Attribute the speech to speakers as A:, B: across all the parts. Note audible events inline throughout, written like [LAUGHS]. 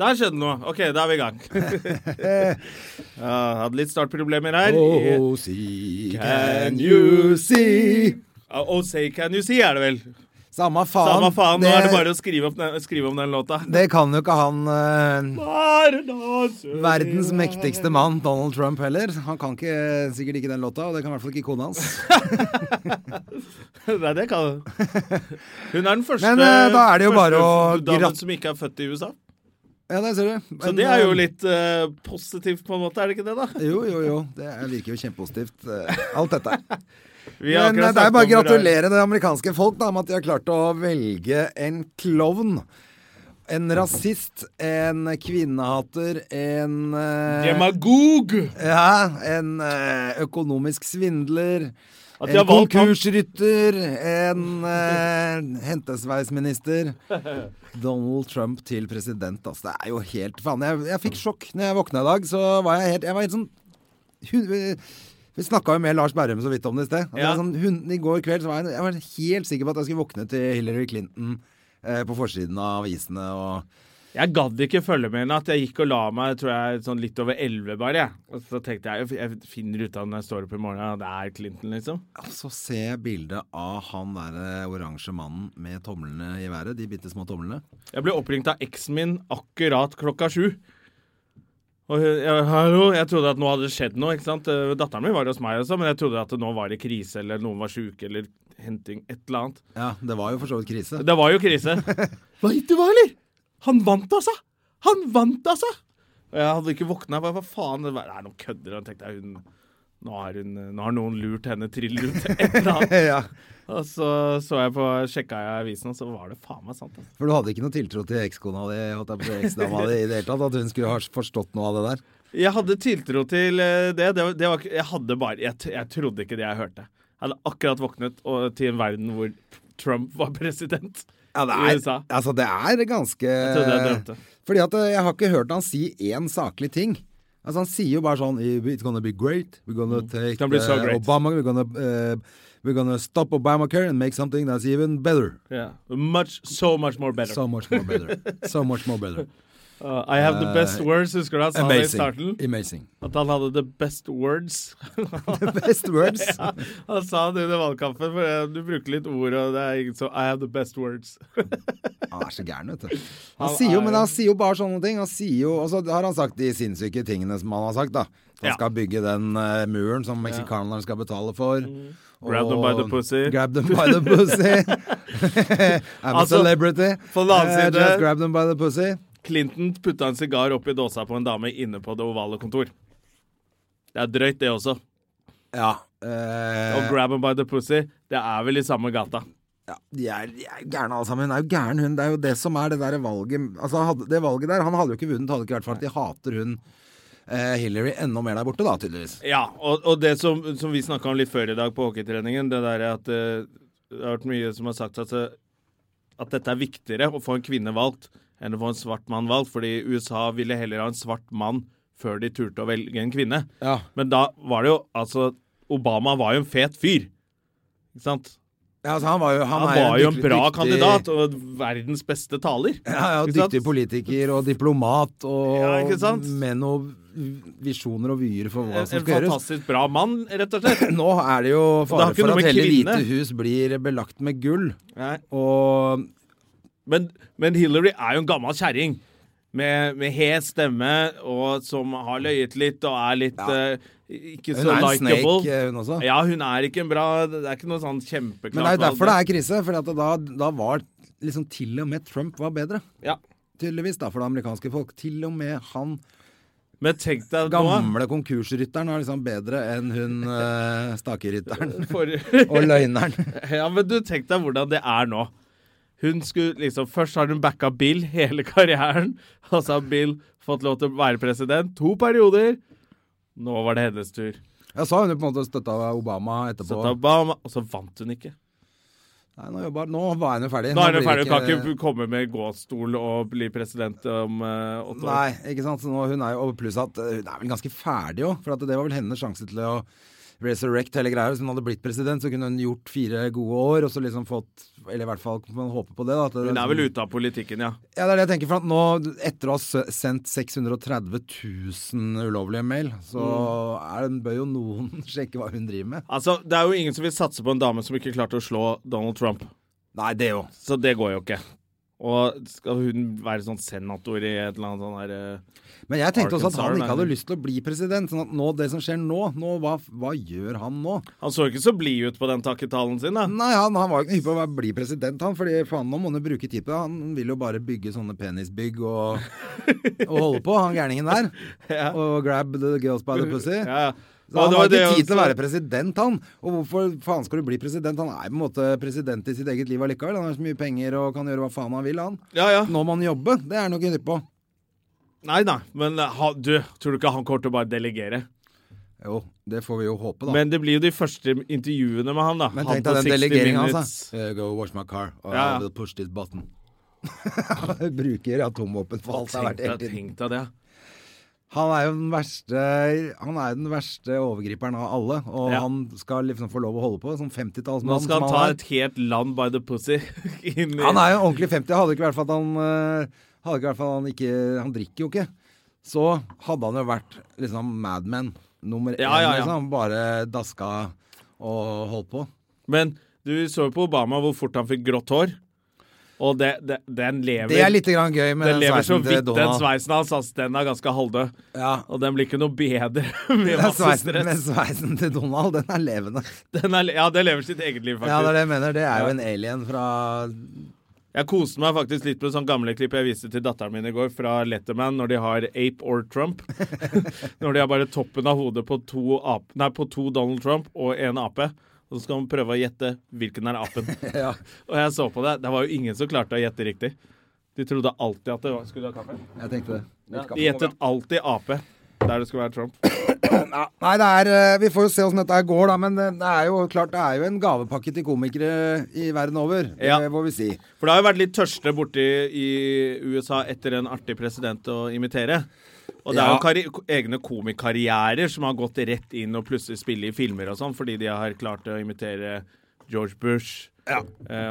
A: Der skjedde noe. Ok, da er vi i gang.
B: [LAUGHS]
A: [LAUGHS] ja, hadde litt startproblemer her.
B: Oh, see, can you see
A: Oh, oh, say can you see, er det vel.
B: Samme faen.
A: Samme faen, nå er det bare å skrive, opp den, skrive om den låta.
B: det kan jo ikke han eh,
A: Bare dans
B: verdens mektigste mann, Donald Trump, heller. Han kan ikke, sikkert ikke den låta, og det kan i hvert fall ikke kona hans.
A: Nei, det
B: [LAUGHS]
A: kan Hun er den første,
B: Men, eh, da er det jo
A: første
B: bare å
A: damen
B: grat-
A: som ikke er født i USA.
B: Ja, det ser du.
A: Så
B: Men,
A: det er jo
B: eh,
A: litt eh, positivt, på en måte, er det ikke det, da?
B: Jo, jo, jo. Det er- virker jo kjempepositivt, eh, alt dette.
A: [LAUGHS] Vi har
B: Men eh,
A: akkurat
B: det er
A: snakket
B: bare å
A: om hvor det er-
B: gratulere det amerikanske folk da, med at de har klart å velge en klovn. En rasist, en kvinnehater, en eh,
A: Demagog!
B: Ja, en eh, økonomisk svindler.
A: At de
B: en
A: har valgt han.
B: konkursrytter. En eh,
A: [LAUGHS]
B: hentesveisminister. Donald Trump til president, altså. Det er jo helt Faen, jeg, jeg fikk sjokk når jeg våkna i dag. Så var jeg helt Jeg var helt sånn hun, vi- Vi snakka jo med Lars Berrum så vidt om det i sted. Og det
A: Ja.
B: er Sånn, hun, I går kveld så var jeg, jeg var helt sikker på at jeg skulle våkne til Hillary Clinton eh, på forsiden av avisene og
A: Jeg gadd ikke følge med henne. At jeg gikk og la meg tror jeg, sånn litt over elleve, bare. jeg. Og så tenkte jeg jeg finner ut av når jeg står opp i morgen, at det er Clinton, liksom.
B: Og Så ser jeg bildet av han derre oransje mannen med tomlene i været. De bitte små tomlene.
A: Jeg ble oppringt av eksen min akkurat klokka sju. Og hun- jeg, hallo, jeg trodde at nå hadde det skjedd noe. ikke sant? Eh, Datteren min var hos meg også, men jeg trodde at nå var det krise, eller noen var sjuke, eller henting, et eller annet.
B: Ja, det var jo for så vidt krise.
A: Det var jo krise. Veit du [LAUGHS] hva, eller? Han vant, altså! Han vant, altså! Og jeg hadde ikke våkna. Hva, hva faen? Det var, nei, nå kødder han, tenkte jeg. Hun, nå, har hun, nå har noen lurt henne trill ut et eller [LAUGHS] annet.
B: ja,
A: Og så, så jeg på, sjekka jeg avisen, og så var det faen meg sant. altså.
B: For du hadde ikke noe tiltro til ekskona di holdt jeg på å si, eksdama di i det hele tatt? At hun skulle ha forstått noe av det der?
A: Jeg hadde tiltro til eh, det. det, var- det var, ikke- jeg hadde bare jeg, t- jeg trodde ikke det jeg hørte. Jeg hadde akkurat våknet og, til en verden hvor Trump var president i USA.
B: altså, det er ganske
A: Jeg trodde jeg drømte.
B: Fordi at eh, jeg har ikke hørt han si én saklig ting. Altså Han sier jo bare sånn It's gonna be great. We're gonna take
A: gonna Mm. be so
B: eh,
A: great.
B: Obama We're gonna, eh, we're gonna stop Obamacare and make something that's even better.
A: Yeah. Much, so much more better.
B: So much more better. So much more better.
A: Uh, I have the best
B: Eh,
A: words, husker du han sa det i starten?
B: Amazing. Amazing. [LAUGHS]
A: At han hadde the best words. [LAUGHS]
B: The best words.
A: Han sa det under valgkampen, for eh, du bruker litt ord, og det er ingen så I have the best words. [LAUGHS]
B: Han er så gæren, vet du. Han
A: Han
B: sier jo,
A: er
B: men
A: jo-
B: han sier jo bare sånne ting. Han sier jo, Og så har han sagt de sinnssyke tingene som han har sagt, da. Han
A: Ja.
B: skal bygge den eh, muren som meksikanerne skal betale for. og-
A: Mm. Grab them by the pussy.
B: Grab them by the pussy.
A: [LAUGHS]
B: I'm a
A: Altså,
B: celebrity.
A: på den annen
B: Eh,
A: side-
B: just grab them by the pussy.
A: Clinton putta en sigar oppi dåsa på en dame inne på det ovale kontor. Det er drøyt, det også.
B: Ja.
A: Og
B: eh,
A: grab 'em by the pussy, det er vel i samme gata.
B: ja, de er, de er gærne alle sammen. Hun er jo gæren, hun. Det er jo det som er det der valget Altså, hadde, det valget der, han hadde jo ikke vunnet, hadde det ikke vært for at de hater hun eh, Hillary enda mer der borte, da, tydeligvis.
A: Ja, og, og det som, som vi snakka om litt før i dag på hockeytreningen, det der er at eh, det har vært mye som har sagt at, eh, at dette er viktigere å få en kvinne valgt enn å få en svart mann valgt, fordi USA ville heller ha en svart mann før de turte å velge en kvinne.
B: Ja.
A: Men da var det jo Altså, Obama var jo en fet fyr. Ikke sant?
B: Ja, altså, han var jo, han
A: Han,
B: er
A: var jo en
B: dyktig-
A: bra
B: dyktig-
A: kandidat og verdens beste taler.
B: Ja, ja,
A: Ikke sant?
B: dyktig politiker og diplomat og
A: Ja, ikke sant?
B: med noen visjoner og vyer for hva
A: En,
B: som
A: en
B: skal gjøres.
A: fantastisk bra mann, rett og slett.
B: Nå er det jo
A: det
B: fare
A: har ikke
B: for at
A: noe med
B: hele
A: kvinne.
B: Hvite hus blir belagt med gull.
A: Nei.
B: Og
A: Men, men Hillary er jo en gammel kjerring. Med, med hes stemme, og som har løyet litt og er litt eh, ikke
B: hun
A: så
B: er en
A: likeable.
B: snake, eh, hun også.
A: Ja, hun er ikke en bra Det er ikke noe sånn kjempeklart
B: Men det er jo derfor det er krise, for at da, da var liksom til og med Trump var bedre.
A: ja.
B: Tydeligvis da, for det amerikanske folk. Til og med han
A: Men tenk deg nå
B: gamle konkursrytteren var liksom bedre enn hun eh, stakerytteren
A: for, [LAUGHS]
B: og løgneren.
A: Ja, men du tenk deg hvordan det er nå. Hun skulle liksom, Først har hun backa Bill hele [LAUGHS] karrieren, og så har Bill fått lov til å være president to perioder. Nå var det hennes tur.
B: Jeg sa hun jo på en måte støtta Obama etterpå.
A: Så da ba han- og så vant hun ikke.
B: Nei, nå, jobber, nå var hun jo ferdig.
A: Nå er hun
B: blir
A: ferdig, hun kan ikke komme med gåstol og bli president om eh, åtte år.
B: Nei, ikke sant. Så nå, hun er jo, og pluss at eh, hun er vel ganske ferdig òg, for at det var vel hennes sjanse til å resurrect hele greia. Hvis hun hadde blitt president, så kunne hun gjort fire gode år, og så liksom fått Eller i hvert fall kan man håpe på det, da. at det- sånn-
A: Hun er vel ute av politikken, ja.
B: Ja, det er det jeg tenker. For at nå, etter å ha sø- sendt 630 000 ulovlige mail, så
A: Mm.
B: er det, bør jo noen [LAUGHS] sjekke hva hun driver med.
A: Altså, Det er jo ingen som vil satse på en dame som ikke klarte å slå Donald Trump.
B: Nei, det jo.
A: Så det går jo ikke. Og skal hun være sånn senator i et eller annet sånn her eh,
B: Men jeg tenkte også at
A: Arkansas,
B: han ikke hadde
A: nei.
B: lyst til å bli president. Sånn at nå, det som skjer nå, nå hva, hva gjør han nå?
A: Han så ikke så blid ut på den takketalen sin, da.
B: Nei, han, han var jo ikke hypp på å være- bli president, han. fordi faen, nå må han jo bruke tid på det. Han vil jo bare bygge sånne penisbygg og, og holde på, han gærningen
A: [LAUGHS]
B: der. Og grab the girls by the pussy.
A: Ja, ja.
B: Så
A: Og
B: han
A: det
B: har
A: var det
B: ikke tid til å
A: også-
B: være president, han. Og hvorfor faen skal du bli president? Han er på en måte president i sitt eget liv allikevel. Han har så mye penger og kan gjøre hva faen han vil, han.
A: Ja, ja.
B: Nå må han jobbe. Det er han jo ikke hypp på.
A: Nei, nei. Men eh, ha, du, tror du ikke han kommer til å bare delegere?
B: Jo, det får vi jo håpe, da.
A: Men det blir jo de første intervjuene med han, da.
B: Men
A: Han
B: tenk
A: på
B: deg den
A: 60
B: delegeringa,
A: Minutes.
B: altså. go watch my car, or
A: Ja, ja.
B: I will push this button. [LAUGHS] Bruker atomvåpen for alt det har
A: Tenk
B: vært hele
A: deg,
B: tiden.
A: tenk deg det.
B: Han er jo den verste, han er jo den verste overgriperen av alle, og
A: Ja.
B: han skal liksom få lov å holde på som
A: Nå
B: 50-tallsmann.
A: skal
B: som
A: han ta
B: han,
A: et helt land by the pussy. [LAUGHS] inn i-
B: er. han er jo en ordentlig 50, hadde ikke vært for at han øh, hadde ikke vært for at han ikke Han drikker jo ikke. Så hadde han jo vært liksom Madman nummer
A: Ja,
B: én,
A: ja, ja.
B: liksom. Bare daska og holdt på.
A: Men du så jo på Obama hvor fort han fikk grått hår. Og det, det, den lever
B: Det er litt grann gøy med den,
A: den lever så
B: sveisen til
A: vidt, den
B: Donald.
A: sveisen hans. Altså, den er ganske halvdød.
B: Ja.
A: Og den blir ikke noe bedre [LAUGHS] med
B: Den
A: masse
B: sveisen, den
A: stress.
B: sveisen til Donald, den er levende.
A: Den er, ja, det lever sitt eget liv,
B: Ja, det er
A: faktisk.
B: det jeg mener. Det er jo en alien fra
A: jeg koste meg faktisk litt med sånn gamle klipp jeg viste til datteren min i går, fra Letterman, når de har Ape or
B: [LAUGHS]
A: Trump. når de har bare toppen av hodet på to, ap nei, på to Donald Trump og en ape. Og så skal man prøve å gjette hvilken er apen.
B: Ja.
A: og jeg så på det, det var jo ingen som klarte å gjette riktig. De trodde alltid at det var Skulle du ha kaffe?
B: Jeg tenkte det. Litt kaffe må
A: De
B: vi ha.
A: gjettet alltid Ap der det skulle være Trump.
B: Nei, det er, eh, vi får jo se åssen dette her går, da. Men eh, det er jo klart det er jo en gavepakke til komikere i verden over.
A: Ja.
B: Det må vi si.
A: For det har jo vært litt tørste borti i USA etter en artig president å imitere. Og det er
B: Ja.
A: jo karri egne komikarrierer som har gått rett inn og plutselig spille i filmer og sånn, fordi de har klart å imitere George Bush eh,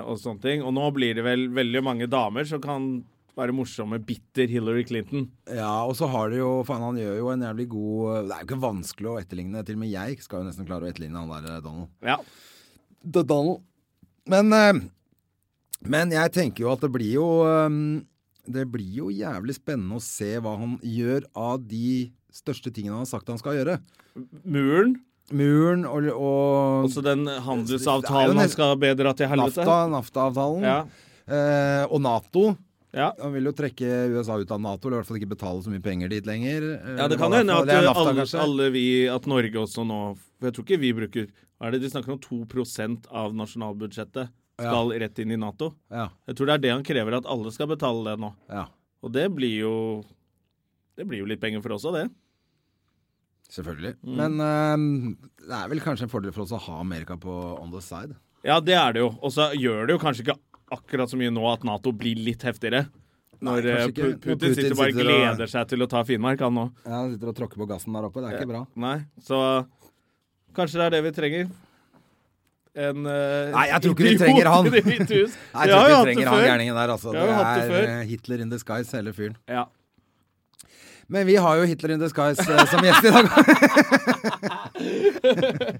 A: og sånne ting. Og nå blir det vel veldig mange damer som kan være morsomme, bitter Hillary Clinton.
B: Ja, og så har det jo Faen, han gjør jo en jævlig god eh, Det er jo ikke vanskelig å etterligne. Til og med jeg skal jo nesten klare å etterligne han der eh, Donald.
A: Ja.
B: The Donald. Men, eh, men jeg tenker jo at det blir jo eh, Det blir jo jævlig spennende å se hva han gjør av de største tingene han har sagt han skal gjøre.
A: Muren,
B: Muren og, og
A: også Altså, den
B: Det er jo
A: handelsavtalen
B: nesten-
A: han skal bedra til helvete.
B: NAFTA, NAFTA-avtalen.
A: Ja.
B: Eh, og Nato.
A: Ja.
B: Han vil jo trekke USA ut av Nato, eller i hvert fall ikke betale så mye penger dit lenger. Eh,
A: Ja, det
B: eller
A: kan
B: hva
A: hende
B: er for noe.
A: at
B: Det er NAFTA,
A: alle,
B: kanskje.
A: alle vi, at Norge også nå For jeg tror ikke vi bruker Hva er det de snakker om? 2 av nasjonalbudsjettet skal rett inn i Nato.
B: Ja,
A: Jeg tror det er det han krever, at alle skal betale det nå.
B: ja,
A: Og det blir jo Det blir jo litt penger for oss òg, det.
B: selvfølgelig.
A: Mm.
B: Men eh, det er vel kanskje en fordel for oss å ha Amerika på on the side.
A: Ja, det er det jo. Og så gjør det jo kanskje ikke akkurat så mye nå at Nato blir litt heftigere.
B: Nei,
A: Når eh,
B: kanskje ikke.
A: Pu-
B: Når
A: Putin sitter bare og
B: og-
A: gleder seg til å ta Finnmark, han nå.
B: Ja, han sitter og tråkker på gassen der oppe. Det er ikke bra.
A: Nei, så kanskje det er det vi trenger. En eh,
B: Nei, jeg tror ikke vi
A: idiot
B: trenger han.
A: [LAUGHS] i Det hvite hus.
B: Nei, [LAUGHS] Jeg
A: Vi har
B: tror
A: jo
B: ikke
A: hatt
B: vi
A: det
B: trenger han
A: før.
B: gærningen der, altså.
A: Jeg har jo hatt det
B: Det
A: før.
B: er eh, Hitler in disguise, hele fyren.
A: Ja.
B: Men vi har jo Hitler in disguise eh, som gjest i dag.
A: [LAUGHS]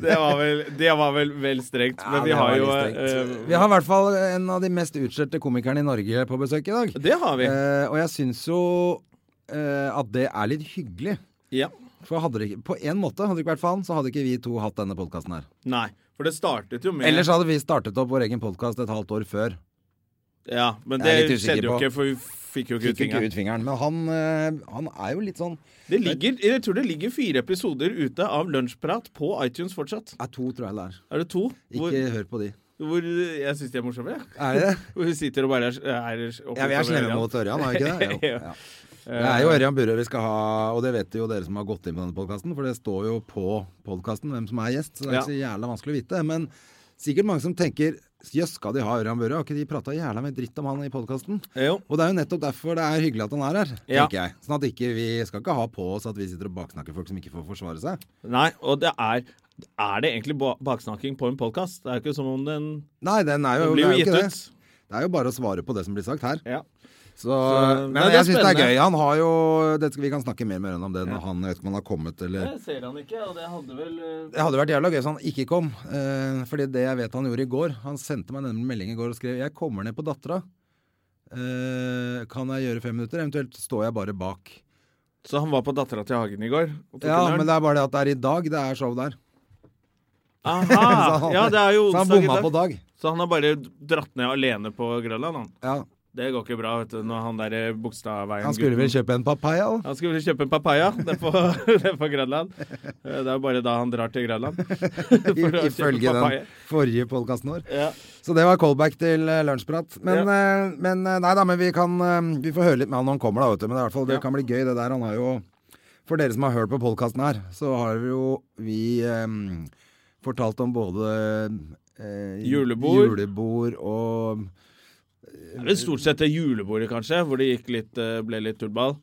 A: Det var vel, det var vel, vel strengt.
B: Ja,
A: [LAUGHS] Men vi
B: det
A: har
B: var
A: jo
B: litt strengt.
A: eh,
B: Vi har i hvert fall en av de mest utskjelte komikerne i Norge på besøk i dag.
A: Det har vi.
B: Eh, og jeg syns jo eh, at det er litt hyggelig.
A: Ja.
B: For hadde det ikke, på en måte, hadde det ikke vært for han, så hadde ikke vi to hatt denne podkasten her.
A: Nei. For det startet jo med
B: Ellers hadde vi startet opp vår egen podkast et halvt år før.
A: Ja, men
B: Jeg er
A: det
B: litt usikker
A: skjedde jo
B: på.
A: ikke, for vi fikk jo ikke ut
B: Fikk jo ikke
A: fingeren.
B: ut fingeren. Men han, eh, han er jo litt sånn
A: Det ligger, jeg tror det ligger fire episoder ute av Lunsjprat på iTunes fortsatt.
B: Er to, tror jeg det er.
A: Er det to? Hvor,
B: Ikke hør på de.
A: Hvor jeg syns de er morsomme. jeg.
B: Er det det?
A: Hvor hun sitter og bare er, er
B: Ja, vi er slemme mot Ørjan, er vi ikke det? Jo.
A: [LAUGHS] Jo.
B: Ja.
A: Eh,
B: Det er jo Ørjan Burøe vi skal ha, og det vet jo dere som har gått inn på denne podkasten, for det står jo på podkasten hvem som er gjest, så det er ikke så jævla vanskelig å vite. Men sikkert mange som tenker jøss, skal de ha Ørjan Burøe? Har ikke de prata jævla mye dritt om han i podkasten?
A: Jo.
B: Og det er jo nettopp derfor det er hyggelig at han er her,
A: Ja.
B: tenker jeg. Sånn at ikke, vi skal ikke ha på oss at vi sitter og baksnakker folk som ikke får forsvare seg.
A: Nei, og det er Er det egentlig ba- baksnakking på en podkast? Det er jo ikke som om den,
B: Nei, den er jo,
A: den blir jo
B: det er jo
A: gitt
B: ikke
A: ut.
B: det. Det er jo bare å svare på det som blir sagt her.
A: Ja.
B: Så,
A: Så-
B: men
A: Nei, det er
B: jeg syns det er
A: spennende.
B: gøy. Han har jo det, skal- Vi kan snakke mer med Ørjan om det når han jeg vet ikke om han har kommet, eller
A: Det ser han ikke, og det hadde vel eh,
B: Det hadde vært jævla gøy hvis han ikke kom. Eh, fordi det jeg vet han gjorde i går Han sendte meg en melding i går og skrev 'Jeg kommer ned på dattera'. Eh, kan jeg gjøre fem minutter? Eventuelt står jeg bare bak.
A: Så han var på Dattera til Hagen i går? og tok en
B: Ja,
A: øl?
B: men det er bare det at det er i dag det er show der.
A: Aha! Ja, det er jo
B: [LAUGHS] Så han
A: onsdag i
B: bomma
A: dag.
B: på dag.
A: Så han har bare dratt ned alene på Grønland, han.
B: Ja,
A: Det går ikke bra, vet du, når han der eh, Bogstadveien
B: han skulle vel kjøpe en papaya òg.
A: Han skulle vel kjøpe en papaya nede på, [LAUGHS] ned på Grønland. Eh, Det er bare da han drar til Grønland. [LAUGHS] [LAUGHS] For å kjøpe
B: Ifølge
A: papaya.
B: den forrige podkasten vår.
A: Ja.
B: Så det var callback til eh, lunsjprat. Men, eh, men eh, nei da, men vi kan eh, Vi får høre litt med han når han kommer, da, vet du. Men det, er i hvert fall, det
A: Ja.
B: kan bli gøy, det der. Han har jo For dere som har hørt på podkasten her, så har vi jo vi eh, fortalt om både eh,
A: Julebord.
B: julebord og
A: Det er vel stort sett det julebordet, kanskje, hvor det gikk litt, eh, ble litt tullball.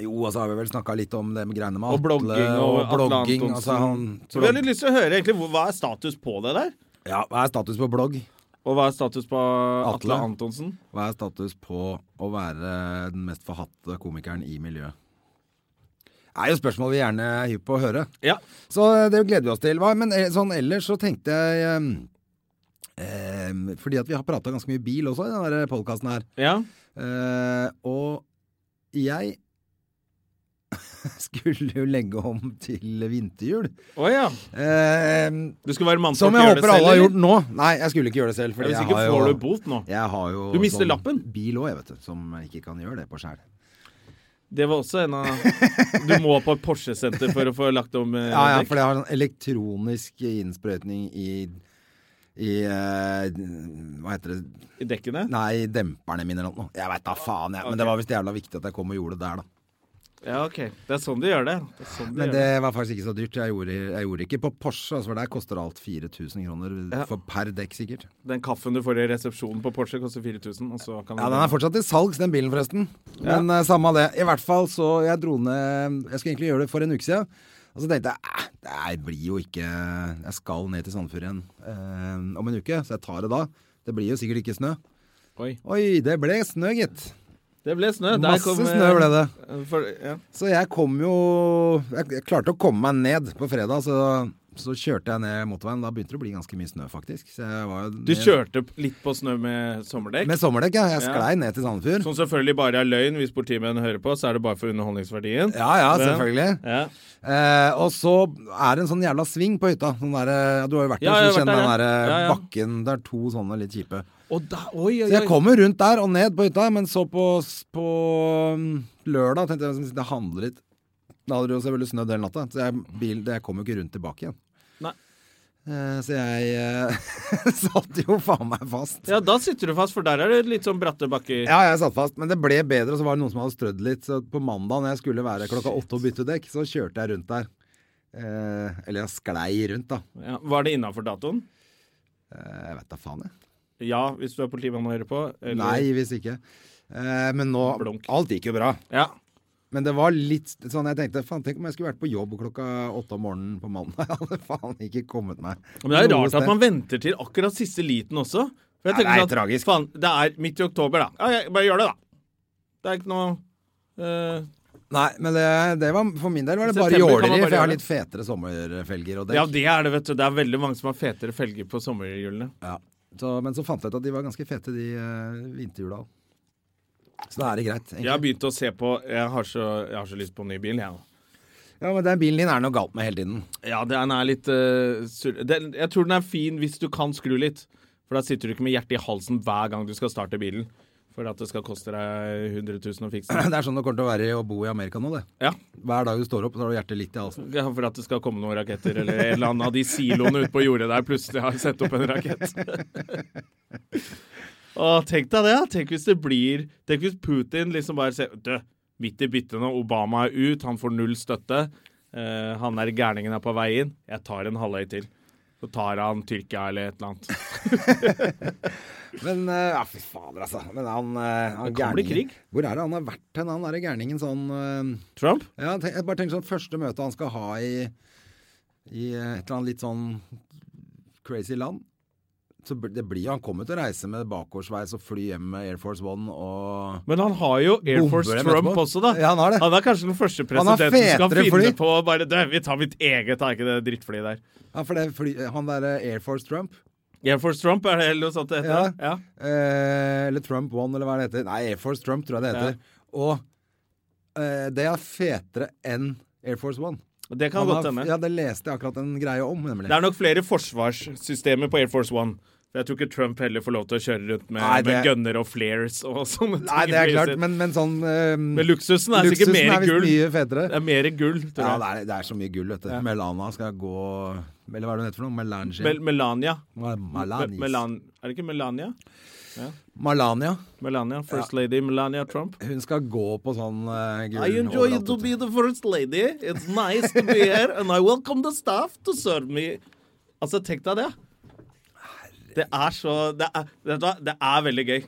B: Jo, og så har vi vel snakka litt om de greiene med
A: Og blogging og,
B: blogging,
A: Atle Antonsen.
B: altså, han-
A: Så vi har litt lyst til å høre, egentlig, hvor- hva er status på det der?
B: Ja, hva er status på blogg?
A: Og hva er status på Atle,
B: Atle.
A: Antonsen?
B: Hva er status på å være den mest forhatte komikeren i miljøet? Det er jo spørsmål vi gjerne er hypp på å høre.
A: Ja.
B: Så eh, det gleder vi oss til. Hva- Men eh, sånn ellers så tenkte jeg eh, eh, Fordi at vi har prata ganske mye bil også i denne podkasten her.
A: ja.
B: Eh, og jeg [LAUGHS] skulle jo legge om til vinterhjul.
A: Å ja.
B: Eh,
A: Du skal være mannfolk
B: som jeg håper alle har gjort nå. Nei, jeg skulle ikke gjøre det selv.
A: For
B: Fordi
A: Hvis
B: jeg
A: ikke
B: har
A: får
B: jo...
A: du bot nå.
B: Jeg har jo sånn
A: Du mister lappen.
B: bil òg, jeg, vet du. Som ikke kan gjøre det på skjær.
A: Det var også en av Du må på et Porsche-senter for å få lagt om eh,
B: Ja, ja,
A: dekk.
B: for det har sånn elektronisk innsprøytning i i eh, Hva heter det
A: i dekkene.
B: Nei, demperne mine eller noe. Jeg veit da faen, jeg. Men det var visst jævla viktig at jeg kom og gjorde det der, da.
A: Ja, ok. Det er sånn de gjør det. det, er sånn de
B: Men
A: gjør
B: det
A: det.
B: var faktisk ikke så dyrt. Jeg gjorde, jeg gjorde ikke på Porsche, altså, for der koster alt 4000 kroner
A: Ja.
B: for per dekk, sikkert.
A: Den kaffen du får i resepsjonen på Porsche, koster 4000. Og så kan
B: Ja,
A: du-
B: den er fortsatt til salgs, den bilen forresten. Men eh, samme av det. I hvert fall så jeg dro ned Jeg skulle egentlig gjøre det for en uke siden. Og så tenkte jeg "Eh, det her blir jo ikke Jeg skal ned til Sandfjord igjen eh, om en uke, så jeg tar det da. Det blir jo sikkert ikke snø.
A: Oi.
B: Oi, det ble snø, gitt.
A: Det ble snø. Der
B: Masse
A: kom, eh,
B: snø ble det.
A: eh, For, ja.
B: Så jeg kom jo Jeg jeg klarte å komme meg ned på fredag, så, så kjørte jeg ned motorveien. Da begynte det å bli ganske mye snø, faktisk. Så jeg var jo
A: Du
B: ned-
A: kjørte p- litt på snø med sommerdekk.
B: med sommerdekk, ja. Jeg
A: Ja. Sånn-
B: sklei ned til Sandfjord.
A: Som selvfølgelig bare er løgn hvis politimenn hører på, så er det bare for underholdningsverdien.
B: Ja ja, selvfølgelig.
A: Ja.
B: Eh, og så er det en sånn jævla sving på hytta. Sånn der, eh, du har jo vært der,
A: Ja,
B: så
A: jeg
B: du kjenner
A: har vært
B: den
A: der,
B: der eh,
A: ja. Ja, ja.
B: bakken. Det er to sånne litt kjipe.
A: Og da, oi, oi,
B: Så jeg
A: oi.
B: kommer rundt der og ned på hytta, men så på, på mm, lørdag tenkte jeg at jeg handle litt. Da hadde det jo selvfølgelig snødd hele natta, så jeg, bil, det- jeg kom jo ikke rundt tilbake igjen.
A: Nei.
B: Eh, så jeg eh, [LAUGHS] satt jo faen meg fast.
A: Ja, da sitter du fast, for der er det litt sånn bratte bakker.
B: Ja, jeg satt fast, men det ble bedre, og så var det noen som hadde strødd litt. Så på mandag når jeg skulle være klokka åtte og bytte dekk, så kjørte jeg rundt der. Eh, eller jeg sklei rundt, da.
A: Ja, var det innafor datoen?
B: Eh, jeg vet da faen, jeg.
A: Ja, hvis du er politimann og hører på. eller-
B: Nei, hvis ikke. Eh, men nå
A: Blunk.
B: Alt gikk jo bra.
A: Ja.
B: Men det var litt sånn jeg tenkte faen, tenk om jeg skulle vært på jobb klokka åtte om morgenen på mandag. [LAUGHS] Jeg hadde faen ikke kommet meg
A: Men det er
B: noe
A: rart at
B: sted.
A: man venter til akkurat siste liten også. For
B: Ja,
A: jeg
B: det
A: tenker sånn
B: er tragisk.
A: Faen, det er midt i oktober, da. Ja, jeg, bare gjør det, da. Det er ikke noe eh,
B: Nei, men det, det var For min del var det
A: I
B: bare
A: september kan
B: jåleri, for
A: man bare
B: jeg
A: gjøre
B: har
A: det.
B: litt fetere sommerfelger og dekk.
A: Ja, det er det, vet du. Det er veldig mange som har fetere felger på sommerhjulene.
B: Ja. Så, men så fant jeg ut at de var ganske fete, de eh, vinterhjula. Så da er det greit.
A: Jeg
B: egentlig.
A: har begynt å se på Jeg har så, jeg har så lyst på en ny bil, jeg nå.
B: Ja, men den bilen din er det noe galt med hele tiden. [LAUGHS]
A: Ja, den er litt eh, sur... Den, jeg tror den er fin hvis du kan skru litt. For da sitter du ikke med hjertet i halsen hver gang du skal starte bilen. For at det skal koste deg 100 000 å fikse.
B: Det er sånn det kommer til å være å bo i Amerika nå, det.
A: Ja,
B: Hver dag du står opp, så har du hjertet litt i halsen.
A: ja, for at det skal komme noen raketter eller en eller annen av de siloene ute på jordet der plutselig har sett opp en
B: [LAUGHS]
A: rakett. Å, tenk deg det. ja. Tenk hvis det blir Tenk hvis Putin liksom bare ser Dø, midt i byttet nå. Obama er ut, han får null støtte. Eh, han er gærningen er på vei inn. Jeg tar en halvøy til. Så tar han Tyrkia eller et eller annet.
B: Men eh, ja, fy fader, altså. Men han, eh, han
A: Det kan bli
B: gærningen-
A: krig.
B: Hvor er det han har vært hen, han derre gærningen sånn eh,
A: Trump?
B: Ja, tenk, jeg bare tenker sånn første møte han skal ha i, i eh, et eller annet litt sånn crazy land. Så bl- det blir, han kommer til å reise med bakgårdsveis og fly hjem med Air Force One og
A: Men han har jo Air
B: Bomber
A: Force
B: dem
A: Trump
B: etterpå.
A: også, da.
B: Ja, han har det.
A: han er kanskje den første
B: Han har
A: presidenten som kan
B: fetere
A: finne
B: fly.
A: på å bare Dø, vi tar mitt eget, har ikke det drittflyet der.
B: Ja, for det fly, han derre Air Force Trump
A: Air Force Trump er det eller noe sånt det heter? Ja.
B: eh, Eller Trump One, eller hva det heter. Nei, Air Force Trump tror jeg det heter. Og eh, det er fetere enn Air Force One.
A: Det kan
B: Han
A: godt
B: har-
A: hende.
B: Ja, det leste jeg akkurat en greie om, nemlig.
A: Det er nok flere forsvarssystemer på Air Force One. For Jeg tror ikke Trump heller får lov til å kjøre rundt med,
B: Nei,
A: med
B: det-
A: gunner og flares og [LAUGHS] sånne ting.
B: Nei, det er
A: i
B: klart,
A: flyet sitt.
B: men, men sånn
A: Men luksusen er sikkert
B: Luksusen
A: mer
B: er
A: gull.
B: visst mye fetere.
A: Det er mer gull, tror
B: Ja,
A: jeg.
B: det er, det er så mye gull, vet du. Melana skal gå Eller hva er det hun heter for noe? Melange?
A: Mel Melania.
B: Melanis.
A: Me- Melan er det ikke Melania?
B: Melania.
A: Melania, First Lady Melania Trump.
B: Hun skal gå på sånn uh, gull
A: I enjoy
B: overalt,
A: to
B: vet
A: be the first lady. It's nice to be here, and I welcome the staff to serve me. Altså, tenk deg det. Det er så Det er, vet du hva? det er veldig gøy.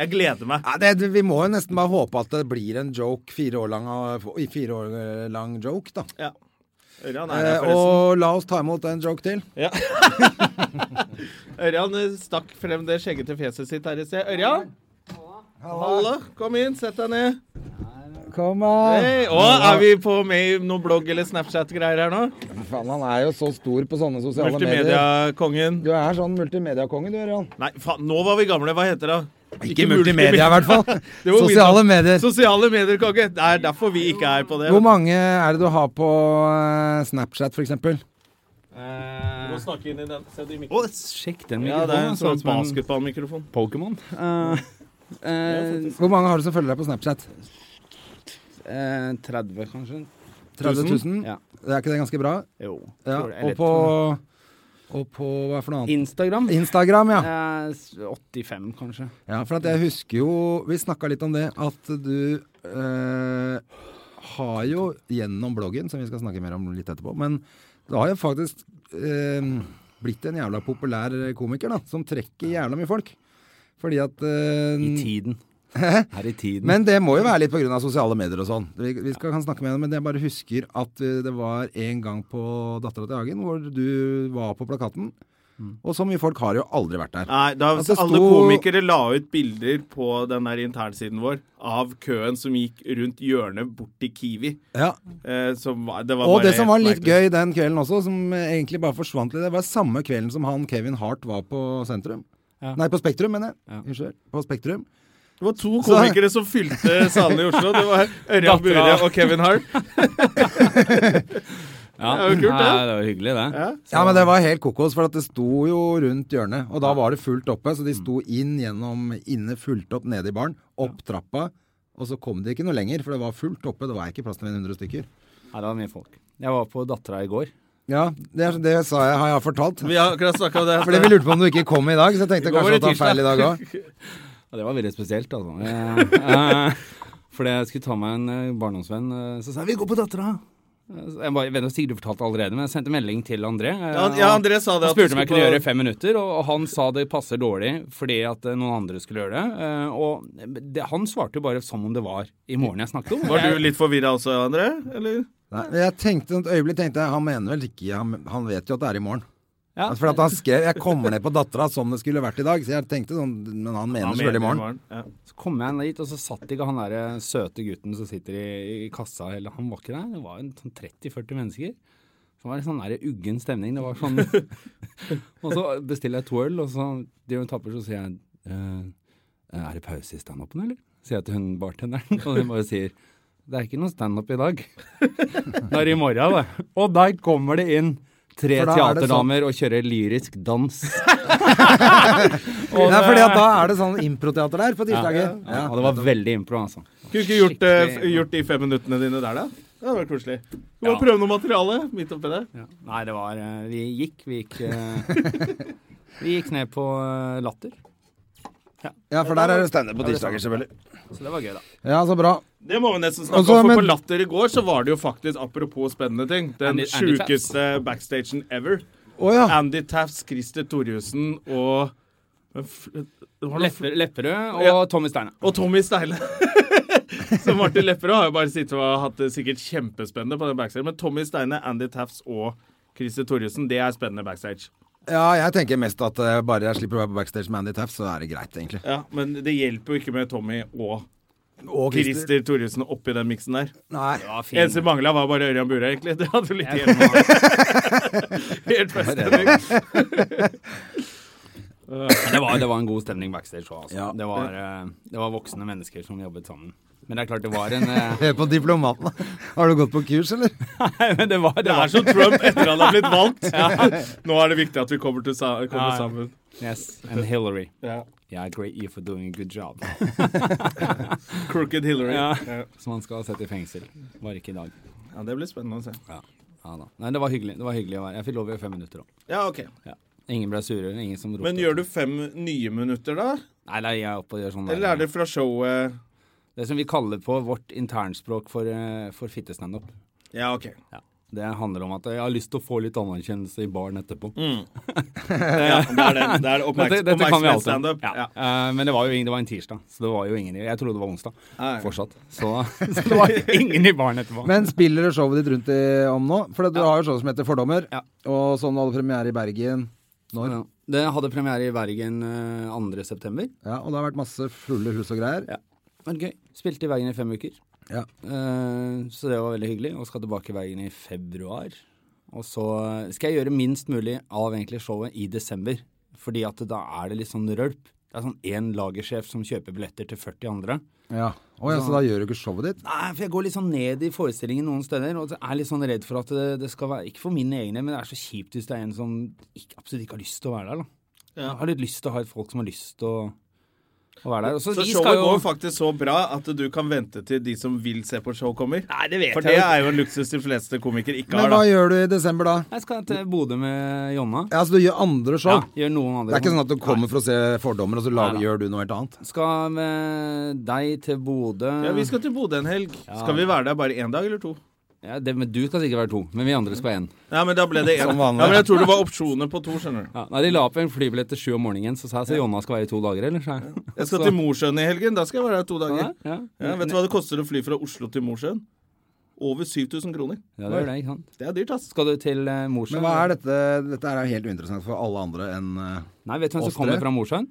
A: Jeg gleder meg.
B: Ja, det, det- vi må jo nesten bare håpe at det blir en joke, fire år lang, av- i fire år eh, lang joke, da.
A: Ja. Ørjan er her,
B: Eh,
A: forresten.
B: og la oss ta imot en joke til.
A: [LAUGHS] Ørjan eh, stakk frem det skjeggete fjeset sitt her i sted. Ørjan? Hallo. Kom inn, sett deg ned.
B: Kom, da.
A: Hei. Å, er vi på med i noen blogg eller Snapchat-greier her nå?
B: Faen, han er jo så stor på sånne sosiale medier.
A: Multimediakongen.
B: Du er sånn multimediakonge, du, Ørjan.
A: Nei, faen, nå var vi gamle. Hva heter det?
B: Ikke multimedia, i hvert [LAUGHS] fall.
A: Det var
B: Sosiale
A: Windows.
B: medier.
A: Sosiale medier, konge. Det er derfor vi ikke er på det.
B: Hvor mange er det du har på eh, Snapchat, for eksempel?
A: Må snakke inn i den. Se det i mikrofonen.
C: Å, sjekk den
A: Ja, det er en
C: mikrofonen.
A: sånn
C: så ut som en
A: basketballmikrofon.
C: Pokémon. Eh, eh,
B: Hvor mange har du som følger deg på Snapchat?
C: eh, 30, kanskje?
B: 30 000?
C: Ja.
B: Det er ikke det ganske bra?
C: Jo.
B: Ja.
C: tror det,
B: Og
C: eller-
B: på, og på hva for noe annet?
C: Instagram?
B: Instagram, ja.
C: Eh, s- 85, kanskje.
B: ja. For at jeg husker jo Vi snakka litt om det, at du eh, har jo gjennom bloggen, som vi skal snakke mer om litt etterpå, men du har jo faktisk eh, blitt en jævla populær komiker, da, som trekker jævla mye folk. Fordi at eh,
C: I tiden. Her i tiden.
B: Men det må jo være litt pga. sosiale medier og sånn. Vi, vi skal, kan snakke med det, men jeg bare husker at eh, det var en gang på Dattera til Hagen hvor du var på plakaten.
C: Mm.
B: Og så mye folk har jo aldri vært der.
A: Nei, da
B: At det
A: alle
B: sto-
A: komikere la ut bilder på den der internsiden vår av køen som gikk rundt hjørnet bort til Kiwi.
B: Ja.
A: Eh, som var, det var
B: Og
A: bare
B: det som var
A: helt
B: litt
A: merkelig.
B: gøy den kvelden også, som eh, egentlig bare forsvant litt, det var samme kvelden som han Kevin Hart var på Sentrum.
C: Ja.
B: Nei, på Spektrum, mener jeg.
C: Ja.
B: Unnskyld. På Spektrum.
A: Det var to komikere som fylte salene i Oslo. Det var Ørjan Bure og Kevin Hart.
C: ja.
A: det er jo kult, det.
C: Nei, det var hyggelig, det.
B: Ja, men det var helt kokos, for at det sto jo rundt hjørnet. Og da var det fullt oppe, så de sto inn gjennom inne, fullt opp nede i baren, opp trappa. Og så kom de ikke noe lenger, for det var fullt oppe. Det var ikke plass til mer enn 100 stykker.
C: Her er det mye folk. Jeg var på Dattera i går.
B: Ja, det, er- det sa jeg, har jeg fortalt.
A: Vi har akkurat snakka om det.
B: Fordi vi lurte på om du ikke kom i dag, så jeg tenkte
A: I går var
B: kanskje at
A: det
B: det var
A: tirsdag.
B: feil i dag òg.
C: Ja, det var veldig spesielt, altså. [LAUGHS] Eh, eh, Fordi jeg skulle ta meg en eh, barndomsvenn, eh, så sa jeg 'vi går på Dattera'. Eh, så Jeg bare- jeg vet ikke om Sigrid fortalte allerede, men jeg sendte melding til André. eh,
A: Ja, ja,
C: og-
A: André sa det.
C: Han
A: at du
C: spurte om jeg
A: skulle
C: kunne
A: på-
C: gjøre det i fem minutter, og og han sa det passer dårlig fordi at eh, noen andre skulle gjøre det. eh, Og det, han svarte jo bare som om det var i morgen jeg snakket om.
A: Var
C: Jeg-
A: du litt forvirra også, André? Eller?
B: Jeg tenkte et øyeblikk tenkte jeg, han mener vel ikke Han, han vet jo at det er i morgen.
C: Ja.
B: For at han skrev 'Jeg kommer ned på dattera' som det skulle vært i dag. Så jeg tenkte sånn, men han mener selvfølgelig i morgen.
A: Ja.
C: Så kom jeg ned dit, og så satt ikke han der eh, søte gutten som sitter i, i kassa, eller han var ikke der. Det var en sånn 30-40 mennesker. Så det var en sånn der uggen stemning. Det var sånn [LAUGHS] Og så bestiller jeg to øl, og så driver hun og tapper, så sier jeg eh, Er det pause i standupen, eller? Sier jeg til hun bartenderen, [LAUGHS] og hun bare sier [LAUGHS] det er ikke noe standup i dag. Det er i morgen, det. Og der kommer det inn Tre
B: For da er det sånn-
C: teaterdamer og kjøre lyrisk dans.
B: [LAUGHS] Nei, fordi at da er det sånn improteater der på tirsdager.
C: Ja, og det var veldig impro, altså.
A: Kunne ikke gjort, eh, f- gjort de fem minuttene dine der, da? Det hadde vært koselig. Du må
C: Ja.
A: prøve noe materiale midt oppi der.
C: Nei, det var eh, Vi gikk, vi
A: [LAUGHS]
C: gikk eh, Vi gikk ned på eh, latter.
B: Ja, for der er det standup på tirsdager, selvfølgelig.
C: Så det var gøy, da.
B: Ja, så bra.
A: Det må vi nesten snakke
B: Altså,
A: om, for
B: men-
A: på Latter i går så var det jo faktisk, apropos spennende ting, den
C: Andy- Andy Taft.
A: sjukeste backstagen ever.
B: Å ja.
A: Andy Tafts, Christer Torjussen og Hvem f- det var noe f-
C: Lepper, Lepperød og
A: Ja.
C: Tommy Steine.
A: Og Tommy Steile. [LAUGHS] Så Martin Lepperød har jo bare sittet og hatt det sikkert kjempespennende på den backstagen. Men Tommy Steine, Andy Tafts og Christer Torjussen, det er spennende backstage.
B: ja, jeg tenker mest at eh, bare jeg slipper å være på backstage med Andy Taff, så er det greit, egentlig.
A: Ja, Men det hjelper jo ikke med Tommy og
B: Og Christer.
A: Christer Torjussen oppi den miksen der.
B: Nei.
A: Eneste mangla var bare Ørjan Bure, egentlig. [LAUGHS] Det hadde du litt igjen av. Helt fast stemning.
C: Men Det var, det var en god stemning backstage òg, altså.
B: Ja.
C: Det, var, eh, det var voksne mennesker som jobbet sammen. Men det er klart det var en eh,
B: Hør på diplomaten. Har du gått på kurs, eller?
C: [LAUGHS] Nei, men det var, det
A: Det
C: var
A: er som Trump etter han har blitt [LAUGHS] valgt. Nå er det viktig at vi kommer, til sa kommer
C: Ja.
A: sammen.
C: [LAUGHS] Yes, and Hillary.
A: Ja.
C: Yeah, great you for doing a good job.
A: Crooked Hillary. Ja.
C: Som han skal ha sett i fengsel. Var ikke i dag.
A: Det blir spennende å se.
C: Ja da. Nei, det var hyggelig. Det var hyggelig å være Jeg fikk lov i fem minutter òg.
A: Ja, ok.
C: Ingen ble sure, ingen som ropte.
A: Men gjør du fem nye minutter, da?
C: Nei, nei, jeg er oppe og gjør sånn. der.
A: Eller er det fra showet
C: Det som vi kaller på vårt internspråk for, eh, for fittestandup.
A: Ja,
C: [LAUGHS]
A: OK.
C: Det handler om at jeg har lyst til å få litt anerkjennelse i baren etterpå.
A: Ja, Mm, det
C: [LAUGHS]
A: er det. Det er
C: Men
A: oppmerks
C: det- dette kan vi alltid.
A: oppmerksomhetsstandup.
C: Ja.
A: Ja.
C: Eh, men det var jo ingen, det var en tirsdag, så det var jo ingen i Jeg trodde det var onsdag
A: Ja, ja.
C: fortsatt. Så, [LAUGHS] så det var ingen i baren etterpå.
B: [LAUGHS] Men spiller du showet ditt rundt i, om nå? For du har jo show som heter Fordommer,
C: Ja.
B: og sånn hadde premiere i Bergen. Når?
C: Ja. Det hadde premiere i Bergen eh, 2. september.
B: Ja, og det har vært masse fulle hus og greier.
C: Ja. Det var gøy. Spilte i Bergen i fem uker.
B: Ja.
C: Eh, så det var veldig hyggelig. Og skal tilbake i Bergen i februar. Og så skal jeg gjøre minst mulig av egentlig showet i desember. Fordi at da er det litt sånn rølp. Det er sånn én lagersjef som kjøper billetter til 40 andre.
B: ja. Å ja, så da gjør du ikke showet ditt?
C: Nei, for jeg går litt sånn ned i forestillingen noen steder, og er litt sånn redd for at det, det skal være Ikke for mine egne, men det er så kjipt hvis det er en som ikke, absolutt ikke har lyst til å være der, da. Jeg har litt lyst til å ha et folk som har lyst til å, å være der. Og
A: Så
C: vi skal
A: showet
C: jo-
A: går faktisk så bra at du kan vente til de som vil se på show, kommer.
C: Nei, det vet
A: For
C: jeg
A: det
C: jo ikke.
A: er jo en luksus de fleste komikere ikke
B: Men
A: har.
B: hva
A: da
B: gjør du i desember da?
C: Jeg skal til Bodø med Jonna.
B: Ja, så du gjør andre show?
C: Ja, gjør noen andre
B: Det er ikke sånn at du kommer for å se Fordommer, og så lager, gjør du noe helt annet?
C: Skal med deg til Bodø
A: Ja, Vi skal til Bodø en helg. Skal vi være der bare én dag eller to?
C: Ja, det, men Du skal sikkert være to, men vi andre skal være én.
A: Nei, men da ble det én.
B: Som
A: Ja,
B: vanlig.
A: men jeg tror det var opsjoner på to, skjønner du.
C: Ja, nei, De la opp en flybillett til sju om morgenen, så sa jeg så Jonna skal være i to dager, eller? sa jeg.
A: Jeg skal til Mosjøen i helgen. Da skal jeg være her to dager.
C: Ja,
A: Ja, vet du hva det koster å fly fra Oslo til Mosjøen? Over 7000 kroner.
C: ja, det gjør det, ikke sant?
A: Det er dyrt, ass.
C: Skal du til eh, Mosjøen?
B: Men hva er dette? Dette er jo helt uinteressant for alle andre enn eh,
C: Nei, vet du hvem
B: Oss
C: som kommer
B: tre?
C: fra Mosjøen?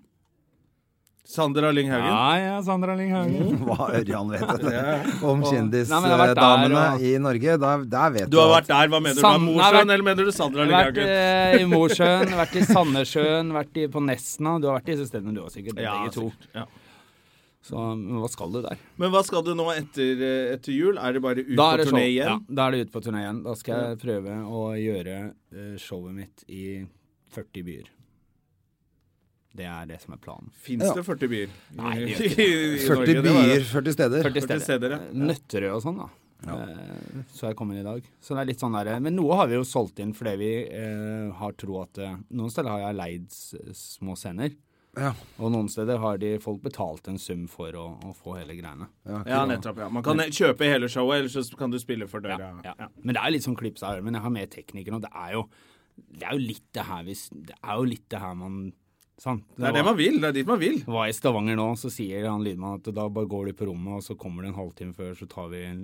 A: Sander Arling Haugen.
C: Ja, ja, Sandra
A: Mm.
C: Linghagen.
B: hva Ørjan
C: [LAUGHS]
B: vet om
C: Nei, men jeg har vært der,
B: kjendisdamene
C: og-
B: i Norge. Der, der vet
A: Du har
B: alt.
A: vært der. Hva mener du?
C: Sand-
A: Sand...
C: Nei,
A: Mosjøen,
C: vært-
A: eller mener du Sander
C: Jeg har
A: Arling Haugen?
C: vært eh, i Mosjøen, vært i Sandnessjøen, vært i, på Nesna. Du har vært i disse stedene du også, sikkert.
A: Ja,
C: begge to.
A: sikkert. ja.
C: Så men hva skal du der?
A: Men hva skal du nå etter, eh, etter jul? Er det bare ut på
C: Da er det
A: turné
C: show. Ja,
A: igjen?
C: da er det ut på turné igjen. Da skal jeg prøve å gjøre eh, showet mitt i 40 byer. Det er det som er planen.
A: Fins
B: Ja.
A: det 40 byer? Nei, [LAUGHS]
C: det gjør
A: ikke det.
B: 40 byer, 40 steder.
C: 40
A: 40 steder, ja.
C: Nøtterøy og sånn, da. Eh, Så jeg kommer i dag. Så det er litt sånn der, Men noe har vi jo solgt inn fordi vi eh, har tro at eh, Noen steder har jeg leid s- små scener.
B: Ja.
C: Og noen steder har de folk betalt en sum for å, å få hele greiene.
A: Ja, nettopp. ja. Man kan eh, kjøpe hele showet, eller så kan du spille for døra.
C: Ja. Men det er jo litt som klips av øret. Men jeg har med teknikeren, og det er jo, det er jo litt det her hvis Det er jo litt det her man Sant?
A: Det er det man vil. Det er dit man vil.
C: var i Stavanger nå, så sier han lydmannen at da bare går du på rommet, og så kommer det en halvtime før, så tar vi en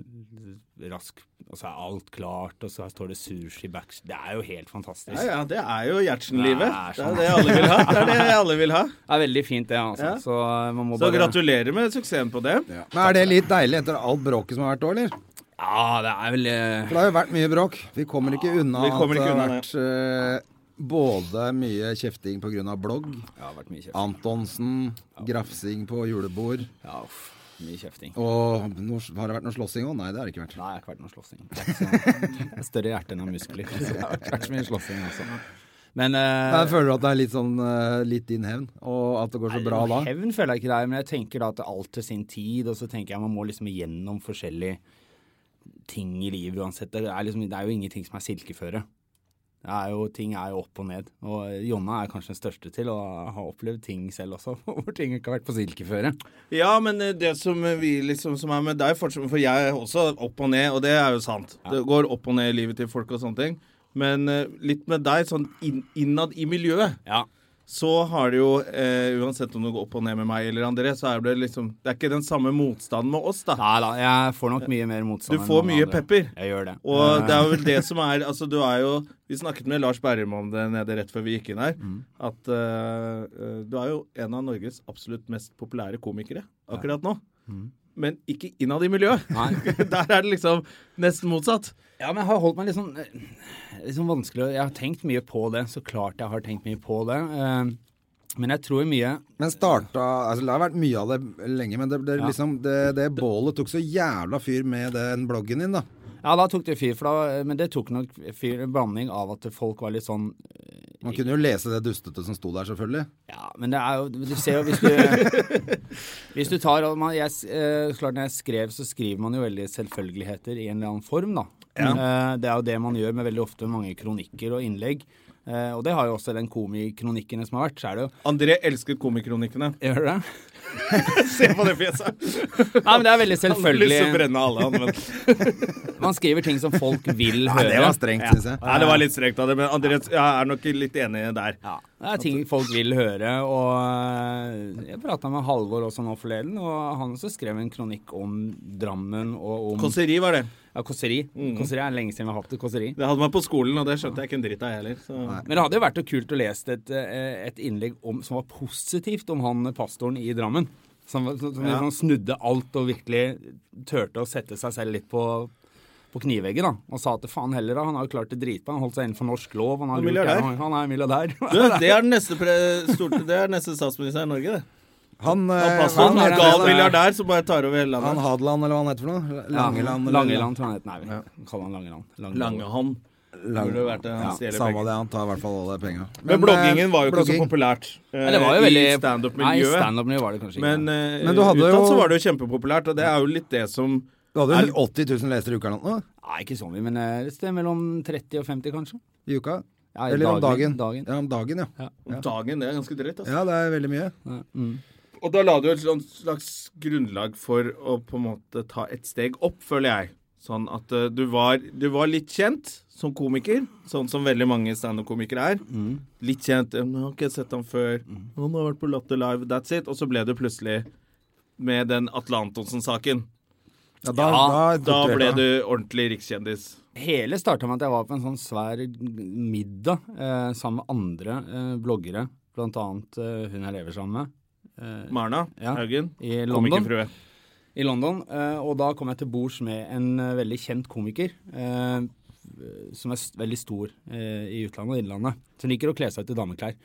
C: rask Og så er alt klart, og så her står det sushi backs Det er jo helt fantastisk.
A: Ja, ja, det er jo Gjertsen-livet.
C: Det
A: Det
C: er
A: er det alle vil ha. Det er [LAUGHS] det alle vil ha.
C: Det er veldig fint, det, altså.
A: Ja.
C: Så man må
A: Så
C: bare
A: gratulerer med suksessen på det.
B: Men er det litt deilig etter alt bråket som har vært òg, eller?
C: Ja, det er vel eh,
B: For det har jo vært mye bråk. Vi kommer ikke unna
A: Vi kommer ikke
B: at det har
A: unna
B: vært eh, både mye kjefting pga. blogg,
C: Det har vært mye kjeft.
B: Antonsen, grafsing på julebord,
C: Ja, uff. Mye kjefting.
B: Og nå, har det vært noe slåssing òg? Nei, det har det ikke vært.
C: Nei, jeg har ikke vært noe slåssing. Det
A: [LAUGHS]
C: er ikke sånn- det er Større hjerte enn av muskler. Så det har ikke vært så mye slåssing også. Men eh,
B: Jeg føler du at det er litt sånn eh, litt din hevn, og at det går så
C: Nei,
B: bra da?
C: noe Hevn føler jeg ikke det er, men jeg tenker da at det er alt til sin tid, og så tenker jeg man må liksom igjennom forskjellige ting i livet uansett. Det er, liksom, det er jo ingenting som er silkeføre. Det er jo, ting er jo opp og ned. Og Jonna er kanskje den største til å ha opplevd ting selv også, [LAUGHS] hvor ting ikke har vært på silkeføre.
A: Ja, men eh, det som vi liksom som er med deg, fortsatt, for jeg er også opp og ned, og det er jo sant. Det går opp og ned i livet til folk og sånne ting. Men eh, litt med deg, sånn inn, innad i miljøet,
C: Ja.
A: så har det jo eh, Uansett om det går opp og ned med meg eller andre, så er det liksom Det er ikke den samme motstanden med oss, da.
C: Nei da, jeg får nok mye mer motstand.
A: Du
C: enn
A: får
C: noen
A: mye
C: andre.
A: pepper.
C: Jeg gjør det. Eh,
A: Og det er vel det som er Altså, du er jo Vi snakket med Lars Berrum om det nede rett før vi gikk inn her. At eh, eh, du er jo en av Norges absolutt mest populære komikere akkurat nå. Men ikke innad i miljøet. [LAUGHS] Der er det liksom nesten motsatt.
C: Ja, men jeg har holdt meg litt sånn, eh, litt sånn vanskelig og Jeg har tenkt mye på det, så klart jeg har tenkt mye på det. eh, Men jeg tror mye
B: Men starta altså Det har vært mye av det lenge, men det, det,
C: Ja.
B: liksom, det, det bålet tok så jævla fyr med den bloggen din, da.
C: Ja, da tok det fyr, for da, eh, men det tok nok fyr en blanding av at folk var litt sånn
B: Man kunne jo lese det dustete som sto der, selvfølgelig.
C: Ja, men det er jo Du ser jo hvis du [LAUGHS] Hvis du tar og man, jeg, s- eh, så klart Når jeg skrev, så skriver man jo veldig selvfølgeligheter i en eller annen form, da. Eh, Det er jo det man gjør med veldig ofte mange kronikker og innlegg. Eh, Og det har jo også den komikronikken som har vært, så er det jo
A: André elsket komikronikkene. [LAUGHS]
C: Gjør du det?
A: Se på det fjeset!
C: Nei, men det [LAUGHS] er
A: Han har
C: veldig
A: lyst til å
C: selvfølgelig
A: brenne alle, han. Men...
C: Man skriver ting som folk vil høre.
B: Nei, det var strengt, synes jeg.
A: Nei, det var litt strengt av det, men André jeg er nok litt enig der.
C: Ja, det er ting folk vil høre, og jeg prata med Halvor også nå forleden, og han også skrev en kronikk om Drammen og om
A: Kåseri var det.
C: ja, Kåseri. Kåseri er lenge siden vi har hatt det. Kåseri.
A: Det hadde man på skolen, og det skjønte jeg ikke en dritt av, jeg heller. Så.
C: Men det hadde jo vært noe kult å lese et, eh, et innlegg om, som var positivt om han eh, pastoren i Drammen. Som, var- som, som
A: Ja.
C: liksom snudde alt og virkelig turte å sette seg selv litt på, på kniveggen. da, Og sa at faen heller, da, han har jo klart det dritbra. Han holdt seg innenfor norsk lov. Han, har
A: Og
C: lurt
A: milliardær.
C: gjennom- han er milliardær.
A: Du,
C: [LAUGHS]
A: det er den neste, pre stort, det er den neste statsminister i Norge, det.
B: Han,
A: Han
B: eh,
A: passer
B: han,
A: på en
C: er-
A: gal
C: han er-
A: milliardær som bare tar over hele
B: han
A: landet.
B: Hadeland, eller hva han heter for noe? Langeland? eller-
C: Langeland, tror jeg han het. Nei, vi kaller han Langeland.
A: Langehånd.
B: Lang-
A: Burde vært det, han stjeler
B: Samme
A: penger.
B: det, han tar i hvert fall alle penga.
A: Men bloggingen var jo ikke så
B: blogging.
A: populært eh,
C: Men det var jo veldig
A: i standup-miljøet.
C: Nei, standup-miljøet var det kanskje ikke.
A: men eh,
B: Men du hadde
A: utad
B: jo-
A: så var det jo kjempepopulært, og det er jo litt det som
B: Du hadde jo 80 000 lesere i uka eller noe?
C: Nei, ikke så mye, men eh, et sted mellom 30 og 50, kanskje.
B: I uka?
C: Ja, i
B: Eller om dagen.
C: dagen, dagen.
B: Ja, om dagen, ja.
A: om dagen, det er ganske drøyt. Altså.
B: Ja, det er veldig mye.
A: Og da la du jo et sånt slags grunnlag for å på en måte ta et steg opp, føler jeg. Sånn at eh, du var, du var litt kjent som komiker, sånn som veldig mange standup-komikere er.
C: Mm.
A: Litt kjent. «Ja, men 'Jeg har ikke sett ham før.' 'Han har vært på Latter Live.' That's it. Og så ble du plutselig med den Atle Antonsen-saken.
B: Ja, da, da,
C: Ja,
A: Da ble du ordentlig rikskjendis.
C: Hele starta med at jeg var på en sånn svær middag eh, sammen med andre eh, bloggere, blant annet eh, hun jeg lever sammen med,
A: Marna
C: Ja.
A: Haugen.
C: i London.
A: Komikerfrue.
C: i London, eh, og da kom jeg til bords med en eh, veldig kjent komiker, eh, som er s- veldig stor eh, i utlandet og innlandet, som liker å kle seg ut i dameklær.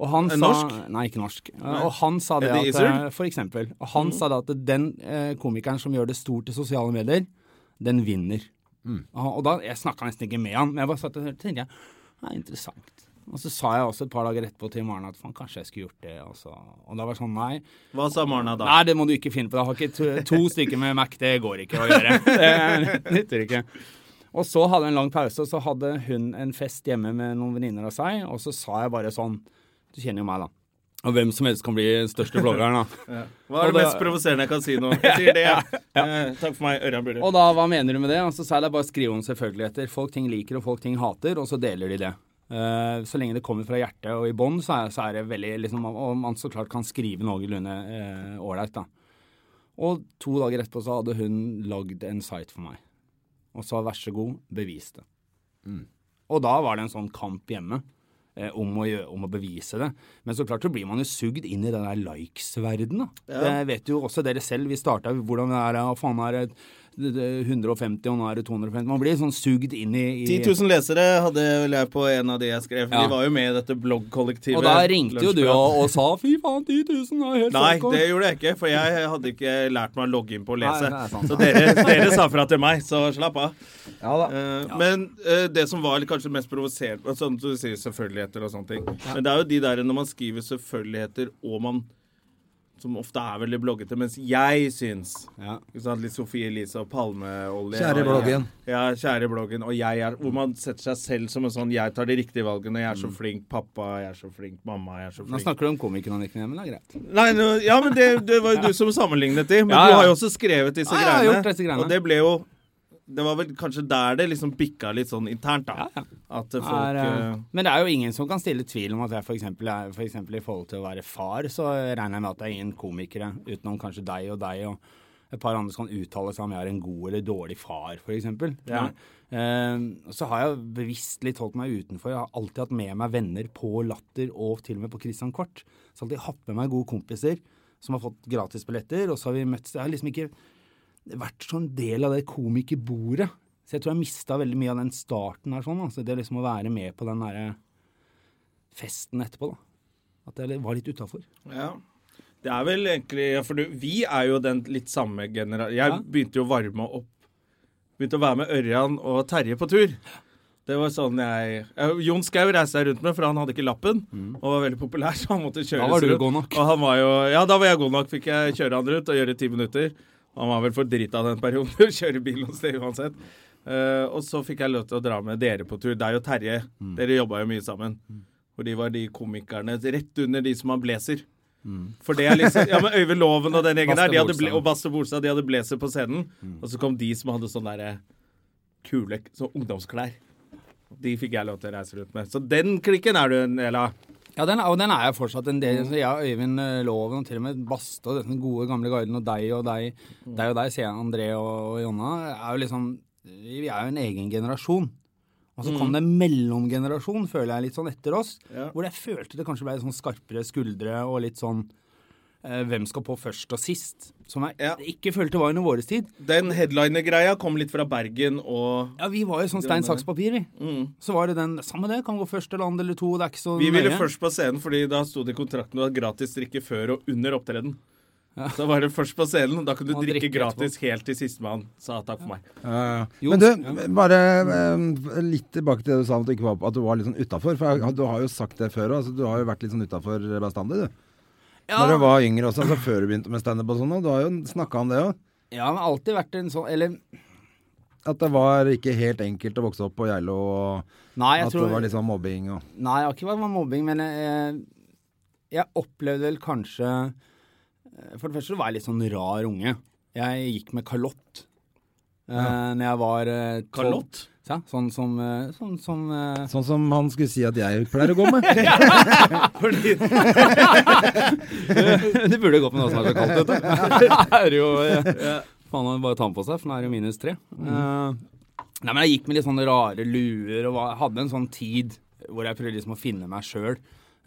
C: Og han
A: Eh,
C: sa,
A: norsk?
C: Nei, ikke norsk. Eh, Og han sa det Mm.
A: Eddie
C: at,
A: Izzard?
C: eh, for eksempel, og han sa det at den eh, komikeren som gjør det stort i sosiale medier, den vinner. Og, han- og da, jeg snakket nesten ikke med han, men jeg bare satt og hørte, tenkte jeg, ja, interessant. Og så sa jeg også et par dager etterpå til Maren at faen, kanskje jeg skulle gjort det. Og, så, og da var det sånn, nei,
A: Hva sa Marna da?
C: Nei, det må du ikke finne på. Jeg har ikke to, to stykker med Mac, det går ikke å gjøre. [LAUGHS] Det nytter ikke. Og så hadde jeg en lang pause, og så hadde hun en fest hjemme med noen venninner av seg, og så sa jeg bare sånn Du kjenner jo meg, da. Og hvem som helst kan bli den største bloggeren, da.
A: Hva er
C: Og
A: det
C: da-
A: mest provoserende jeg kan si
C: [LAUGHS]
A: nå? Jeg sier det, jeg. Eh, takk for meg, Ørjan Burre.
C: Og da, hva mener du med det? Og så sa jeg det er bare å skrive om selvfølgeligheter. Folk ting liker, og folk ting hater, og så deler de det. Eh, så lenge det kommer fra hjertet og i bånn, så, er- så er det veldig liksom, Og man så klart kan skrive noenlunde eh, ålreit, da. Og to dager etterpå så hadde hun lagd en site for meg. Og sa vær så god, bevis det.
A: Mm.
C: Og da var det en sånn kamp hjemme eh, om, å gjø- om å bevise det. Men så klart så blir man jo sugd inn i den der likes-verdenen, da. Det vet jo også dere selv. Vi starta hvordan det er å faen er det det- det- 150, og nå er det 250. Man blir sånn sugd inn i, i
A: 10 000 lesere hadde vel jeg på en av de jeg skrev.
C: Ja.
A: De var jo med i dette bloggkollektivet.
C: Og da ringte jo du
A: Lunsjprat.
C: og, og sa 'fy faen, 10 000 er helt
A: Nei,
C: psycho».
A: det gjorde jeg ikke, for jeg hadde ikke lært meg å logge inn på å lese.
C: Nei, det er sant.
A: så dere, dere sa fra til meg, så slapp av.
B: Ja da.
A: Eh, Men eh, det som var kanskje mest provoserende Som du sier, selvfølgeligheter og sånne ting. Men det er jo de der når man skriver selvfølgeligheter og man Som ofte er veldig bloggete, mens jeg syns
C: Ja.
A: ikke sant, Litt Sofie Elise og palmeolje.
B: Kjære
A: og-
B: bloggen.
A: Ja, kjære bloggen. Og jeg er Hvor man setter seg selv som en sånn Jeg tar de riktige valgene. Jeg er så flink pappa. Jeg er så flink mamma. Jeg er så
C: Mm. Nå
A: flink
C: snakker du om komikerkronikken, men det er greit.
A: Nei, nå, ja, men det, det var jo du som sammenlignet de. Men
C: Ja, ja.
A: du har jo også skrevet disse,
C: Ja, jeg har
A: greiene,
C: gjort disse greiene.
A: Og det ble jo Det var vel kanskje der det liksom bikka litt sånn internt, da. At eh, folk
C: er, eh,
A: eh,
C: men det er jo ingen som kan stille tvil om at jeg for eksempel, er, for eksempel i forhold til å være far, så regner jeg med at det er ingen komikere, utenom kanskje deg og deg og et par andre som kan uttale seg om jeg er en god eller dårlig far, for eksempel.
A: Ja.
C: Eh, så har jeg bevisst litt holdt meg utenfor. Jeg har alltid hatt med meg venner på Latter og til og med på Christian Kvart. Så har jeg alltid hatt med meg gode kompiser som har fått gratisbilletter, og så har vi møttes. Jeg har liksom ikke vært sånn del av det komikerbordet. Så jeg tror jeg mista veldig mye av den starten her, sånn. Altså, det liksom å være med på den derre festen etterpå, da. At jeg var litt utafor.
A: Ja. Det er vel egentlig ja, For du, vi er jo den litt samme generasjon. Jeg
C: Ja.
A: begynte jo å varme opp. Begynte å være med Ørjan og Terje på tur. Det var sånn jeg eh, Jon Skau reiste jeg rundt med, for han hadde ikke lappen. Og var veldig populær, [LAUGHS] så han måtte kjøres
C: Mm. Da var du
A: rundt.
C: god nok.
A: Og han var jo Ja, da var jeg god nok. Fikk jeg kjøre han rundt og gjøre ti minutter. Han var vel for drita den perioden [LAUGHS] til å kjøre bil noe sted uansett. Eh, og så fikk jeg lov til å dra med dere på tur. Deg og Terje.
C: Mm.
A: Dere jobba jo mye sammen. Og de var de komikerne rett under de som har blazer. For det er liksom, ja, men Øyvind Loven og den gjengen
C: Baste
A: der, de hadde
C: Bolstad.
A: ble, og Basse Bolstad, de hadde blazer på scenen. Og så kom de som hadde sånne der kule sånn ungdomsklær. De fikk jeg lov til å reise rundt med. Så den klikken er du en del av.
C: Ja, den, er- og den er jeg fortsatt en
A: Mm.
C: del av. Jeg og Øyvind eh, Loven og til og med Baste og den gode gamle garden og deg og deg,
A: Mm.
C: deg og deg, sier jeg, André og, og Jonna, er jo liksom Vi er jo en egen generasjon. Og så kom det en mellomgenerasjon, føler jeg, litt sånn etter oss.
A: Mm. Ja.
C: Hvor jeg følte det kanskje ble litt sånn skarpere skuldre og litt sånn eh, hvem skal på først og sist? Som jeg
A: Ja.
C: ikke følte var under våres tid.
A: Den headliner-greia kom litt fra Bergen og
C: Ja, Vi var jo sånn stein, saks, papir, vi. Så var det den Samme det, kan gå først eller andre eller to. Det er ikke sånn så
A: Mm. Vi ville
C: nøye.
A: først på scenen, fordi da sto det i kontrakten at gratis drikke før og under opptreden. Så var det først på scenen, og da kunne du
C: Og
A: drikke
C: drikke
A: gratis helt til sistemann sa takk for meg.
B: Ja, ja.
C: Jo,
B: Men du, bare eh, litt tilbake til det du sa om at du, ikke var, at du var litt sånn utafor. For jeg- du har jo sagt det før òg, altså, du har jo vært litt sånn utafor bestandig, du.
C: ja,
B: Når du var yngre også, altså før du begynte med standup og sånn, og du har jo snakka om det òg.
C: ja, men alltid vært en sånn Eller
B: At det var ikke helt enkelt å vokse opp på Geilo, og
C: nei, jeg
B: at
C: tror
B: det var litt sånn mobbing og
C: Nei, jeg har ikke vært med mobbing, men jeg, jeg opplevde vel kanskje eh, For det første så var jeg litt sånn rar unge. Jeg gikk med kalott eh, når jeg var eh, tolv.
A: Kalott?
C: Ja, sånn som, eh, sånn, som eh,
B: Sånn som han skulle si at jeg pleier å gå med.
C: [LAUGHS]
A: Fordi
C: [LAUGHS] Du burde gått med noe som er så kaldt ute. Her er [LAUGHS] det jo eh, Faen, han bare ta den på seg, for nå er det jo minus tre.
A: Mm.
C: Eh, nei, men jeg gikk med litt sånne rare luer og var, hadde en sånn tid hvor jeg prøvde liksom å finne meg sjøl.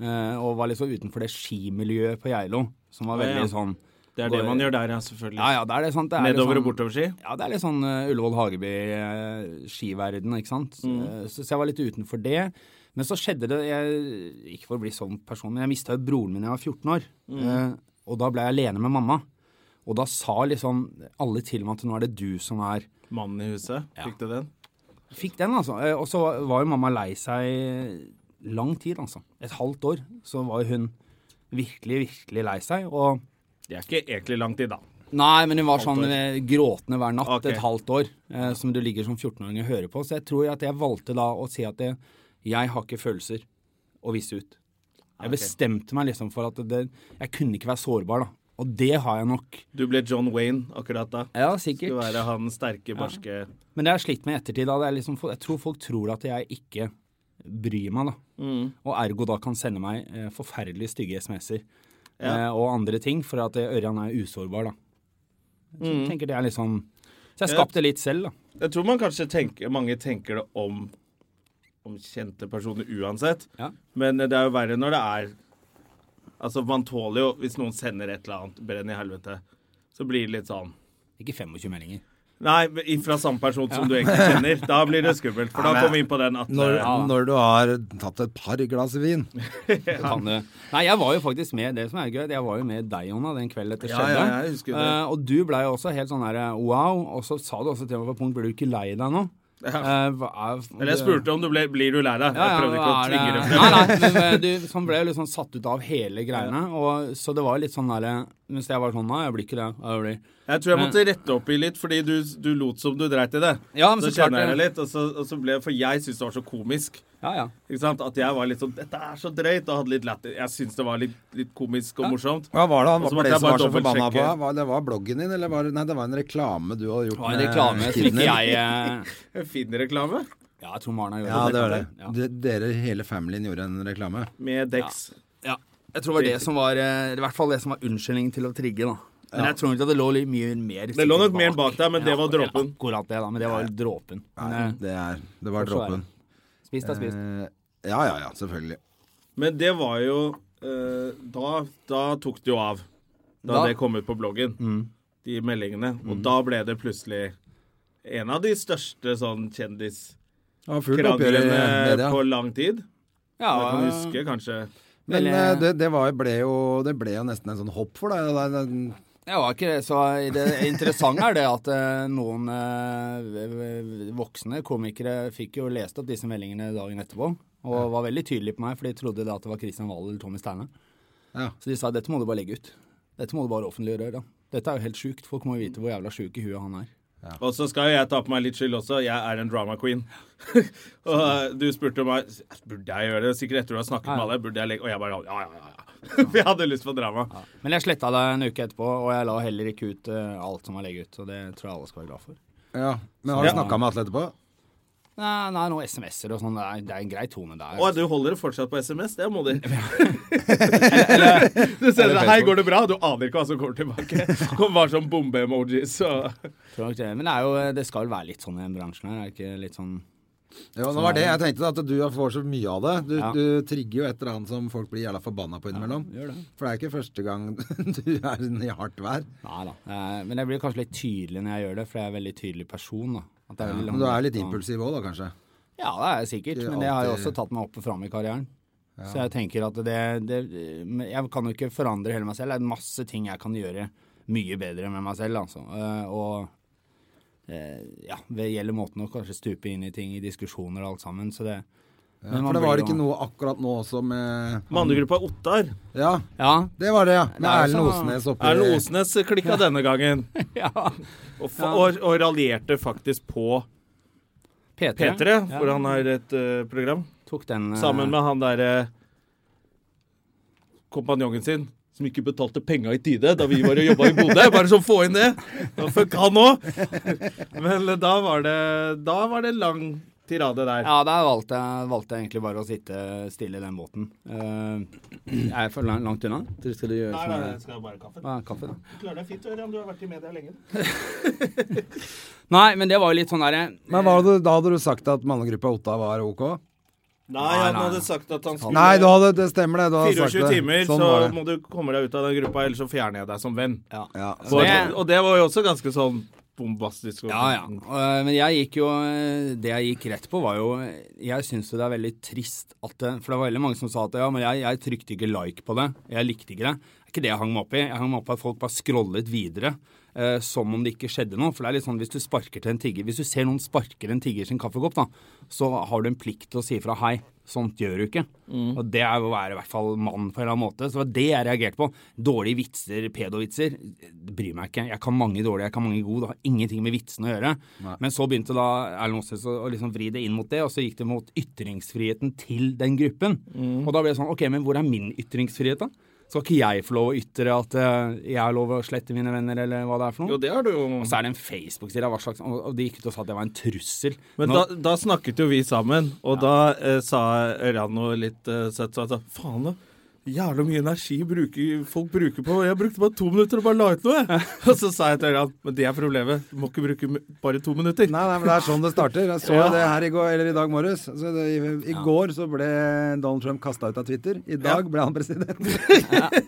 C: og var liksom utenfor det skimiljøet på Geilo, som var
A: Å,
C: veldig
A: ja.
C: sånn
A: Det er det man gjør der, ja, selvfølgelig.
C: Ja ja, det er det, sant. Det er litt
A: Nedover
C: sånn,
A: og bortoverski.
C: Ja, det er litt sånn eh, Ullevål Hageby-skiverden, ikke sant. Eh, så, så jeg var litt utenfor det. Men så skjedde det jeg, Ikke for å bli sånn person, men jeg mista jo broren min da jeg var 14 år. Eh, og da ble jeg alene med mamma. Og da sa liksom alle til meg at nå er det du som er
A: Mannen i huset, fikk du den?
C: Fikk den, altså. Eh, Og så var jo mamma lei seg lang tid, altså. Et halvt år. Så var jo hun virkelig, virkelig lei seg. Og
A: Det er ikke egentlig lang tid, da.
C: Nei, men hun var
A: Halvt
C: sånn
A: år.
C: eh, gråtende hver natt
A: Ok.
C: et halvt år, eh, som du ligger som 14-åring og hører på. Så jeg tror at jeg valgte da å si at det, jeg har ikke følelser å vise ut. Jeg bestemte meg liksom for at det, jeg kunne ikke være sårbar, da. Og det har jeg nok.
A: Du ble John Wayne akkurat da.
C: Ja,
A: Skulle
C: sikkert.
A: være han sterke, barske
C: Men det har jeg slitt med i ettertid. Da. Det er liksom, jeg tror folk tror at jeg ikke bryr meg, da.
A: Mm.
C: Og ergo da kan sende meg eh, forferdelig stygge SMS-er eh, og andre ting for at eh, Ørjan er usårbar, da. Så jeg tenker det er liksom Så jeg
A: Mm. Ja.
C: skapte litt selv, da.
A: Jeg tror man kanskje tenker, mange tenker det om, om kjente personer uansett.
C: Ja.
A: Men det er jo verre når det er Altså, man tåler jo Hvis noen sender et eller annet, brenn i helvete, så blir det litt sånn
C: Ikke 25 meldinger.
A: Nei, fra samme person som du
C: [LAUGHS]
A: egentlig kjenner. Da blir det skummelt, for da kommer vi inn på den at
B: Når,
A: ja.
B: når du har tatt et par glass vin.
C: Kan du? Nei, jeg var jo faktisk med det som er gøy, jeg var jo med deg, Jonna, den kvelden dette
A: Ja,
C: skjedde.
A: ja, jeg husker det.
C: Eh, og du blei jo også helt sånn der wow, og så sa du også til meg på et punkt, blir du ikke lei deg nå? Eh, hva er-
A: Eller jeg spurte om du ble, blir du lei deg.
C: Ja,
A: Jeg
C: ja,
A: prøvde ikke å
C: hva
A: tvinge
C: er
A: det
C: det-
A: frem.
C: [LAUGHS] Nei, nei, men eh, du sånn ble jo litt sånn satt ut av hele greiene, og så det var litt sånn derre Mens jeg var sånn, nei, jeg blir ikke det. Jeg blir.
A: Jeg tror jeg måtte rette opp i litt, fordi du, du lot som du dreit i det.
C: Ja, men
A: så
C: så klart
A: kjenner jeg det
C: det.
A: litt, og så, og så ble For jeg syntes det var så komisk.
C: Ja, ja.
A: Ikke sant? At jeg var litt sånn Dette er så drøyt! Og hadde litt latter. Jeg syntes det var litt, litt komisk og morsomt.
B: Hva var det han
A: Og så
B: var,
A: måtte
B: det
A: jeg
B: som
A: bare
B: var så forbanna på?
A: dobbeltsjekke.
B: Var, det var bloggen din, eller var det Nei, det var en reklame du hadde gjort
C: Det var en reklame som
B: Kidner.
C: ikke jeg eh,
A: Fin reklame.
C: [LAUGHS] Ja, jeg tror Maren har gjort
B: Ja, det var det.
C: Ja.
B: De- Dere, hele familien, gjorde en reklame.
A: Med Dex.
C: Ja. Jeg tror det var det som var eh, I hvert fall det som var unnskyldningen til å trigge, da. Men jeg tror nok at det lå litt mye mer
A: Det lå nok mer bak der, men det var dråpen.
C: Akkurat det, da. Men det var jo dråpen. Men,
B: Nei,
C: eh,
B: det er Det var
C: så er
B: dråpen.
C: Spist er spist.
B: Eh, Ja, ja, ja, selvfølgelig.
A: Men det var jo eh, da, da tok det jo av. Da,
C: Da-
A: det kom ut på bloggen, de meldingene. Og da ble det plutselig en av de største sånn kjendiskraglene
B: Det var fullt oppgjør i media.
A: på lang tid.
C: Ja,
A: Jeg kan huske kanskje
B: Men
C: Eller-
B: eh, det, det, var, jo- ble jo, det ble jo nesten en sånn hopp for deg. Det, det, det,
C: jeg var ikke det. Så det interessante er det at eh, noen eh, v- v- voksne komikere fikk jo lest opp disse meldingene dagen etterpå, og var veldig tydelige på meg, for de trodde da at det var Christian Wahl eller Tommy Steine.
B: Ja.
C: Så de sa dette må du bare legge ut. Dette må du bare offentliggjøre. da. Dette er jo helt sjukt. Folk må jo vite hvor jævla sjuk i huet han er.
A: Og så skal jo jeg ta på meg litt skyld også. Jeg er en drama queen. [LAUGHS] og eh, du spurte meg Burde jeg gjøre det. Sikkert etter du har snakket med alle. Burde jeg legge Og jeg bare Ja, ja, ja. ja. [LAUGHS] For jeg hadde lyst på drama.
C: Men jeg sletta det en uke etterpå, og jeg la heller ikke ut eh, alt som var legget ut. Og det tror jeg alle skal være glad for.
B: ja. Men har du
A: Ja.
B: snakka med Atle etterpå?
C: Nei, nei noen SMS-er og sånn. Det, er- det er en grei tone der.
A: Å, du holder det fortsatt på SMS? Det er modig. [LAUGHS] du sender det 'Hei, går det bra?' Du aner ikke hva som kommer [LAUGHS] tilbake. Det kommer bare sånn bombe-emojis og
C: Tror nok det. Men det, er jo, det skal være litt sånn i den bransjen her. Er det ikke litt sånn
B: Ja, det var det jeg tenkte, at du får så mye av det. Du,
C: Ja.
B: du trigger jo et eller annet som folk blir jævla forbanna på innimellom. For det er ikke første gang [LAUGHS] du er i hardt vær.
C: Nei da. Eh, Men jeg blir kanskje litt tydelig når jeg gjør det, for jeg er en veldig tydelig person. da. At det er veldig
B: Men du
C: langt-
B: er litt
C: Ja.
B: impulsiv òg, da kanskje.
C: Ja, det er jeg sikkert,
B: Det er
C: men det har jo
B: alltid-
C: også tatt meg opp og fram i karrieren. Så jeg tenker at det, det men Jeg kan jo ikke forandre hele meg selv. Det er masse ting jeg kan gjøre mye bedre med meg selv, altså. Eh, Og eh, ja, det gjelder måten å kanskje stupe inn i ting i diskusjoner og alt sammen, så det men
B: For
C: man
B: det
C: blir
B: var
C: jo-
B: ikke noe akkurat nå også med
A: Mannegruppa Ottar.
B: Ja,
C: Ja. [LAUGHS]
B: det var det, ja. Med
C: Det er jo
B: Erlend
C: sånn-
B: Osnes oppi
A: Erlend Osnes klikka denne gangen,
C: ja.
A: og, fa- og, og raljerte faktisk på
C: P3,
A: P3,
C: Ja.
A: hvor han har et eh, program,
C: tok den eh,
A: sammen med han derre kompanjongen sin. Som ikke betalte penga i tide da vi var og jobba i Bodø. Bare sånn, få inn det! Og Fuck han òg! Men eh, da var det Da var det lang tirade der.
C: Ja, der valgte jeg, valgte jeg egentlig bare å sitte stille i den båten. Eh, jeg er for lang- langt unna. Dere skulle gjøre
A: Nei,
C: sånn-
A: nei, nei, jeg skal bare ha kaffe.
C: Hva er kaffe, da?
A: Klarer deg fint, Ørjan. Du har vært i media lenge.
C: Nei, men det var jo litt sånn derre
B: Men var det, da hadde du sagt at mannegruppa Otta var ok?
A: Nei, han hadde sagt at han skulle
B: Nei, du hadde, det stemmer det. Du hadde sagt
A: 24
B: det.
A: timer,
B: sånn
A: så
B: var det.
A: må du komme deg ut av den gruppa, ellers så fjerner jeg deg som venn.
C: ja.
B: Ja,
A: Og,
B: så,
C: Altså, det-
A: og det var jo også ganske sånn bombastisk.
C: Ja, ja. Eh, Men jeg gikk jo eh, Det jeg gikk rett på, var jo Jeg syns jo det er veldig trist at det For det var veldig mange som sa at ja, men jeg, jeg trykte ikke like på det. Jeg likte ikke det. Det er ikke det jeg hang meg opp i. Jeg hang meg opp i at folk bare scrollet videre. eh, som om det ikke skjedde noe. For det er litt sånn hvis du sparker til en tigger Hvis du ser noen sparker en tigger sin kaffekopp, da, så har du en plikt til å si fra hei. Sånt gjør du ikke.
A: Mm.
C: Og det er jo å være i hvert fall mann på en eller annen måte. Så det var det jeg reagerte på. Dårlige vitser, pedovitser, det bryr meg ikke. Jeg kan mange dårlige, jeg kan mange gode. Det har ingenting med vitsene å gjøre. Men så begynte da Erlend Osnes å å liksom vri det inn mot det, og så gikk det mot ytringsfriheten til den gruppen.
A: Mm.
C: Og da ble det sånn, ok, men hvor er min ytringsfrihet, da? Skal ikke jeg få lov å ytre at eh, jeg har lov å slette mine venner, eller hva det er for noe?
A: Jo, det har du jo.
C: Og så er det en Facebook-side, hva slags Og og de gikk ut og sa at det var en trussel.
A: Men
C: Nå-
A: da, da snakket jo vi sammen, og da eh, sa Ørjan noe litt eh, søtt. Så han sa faen, da. Jævla mye energi bruker, folk bruker på Jeg brukte bare to minutter og bare la ut noe, jeg. Og så sa jeg til Ørjan men det er problemet. Du må ikke bruke m- bare to minutter.
B: Nei, nei, men det er sånn det starter. Jeg så jo det her i går, eller i dag morges. Så det, i, I går så ble Donald Trump kasta ut av Twitter. I dag ble han president.
C: [LAUGHS]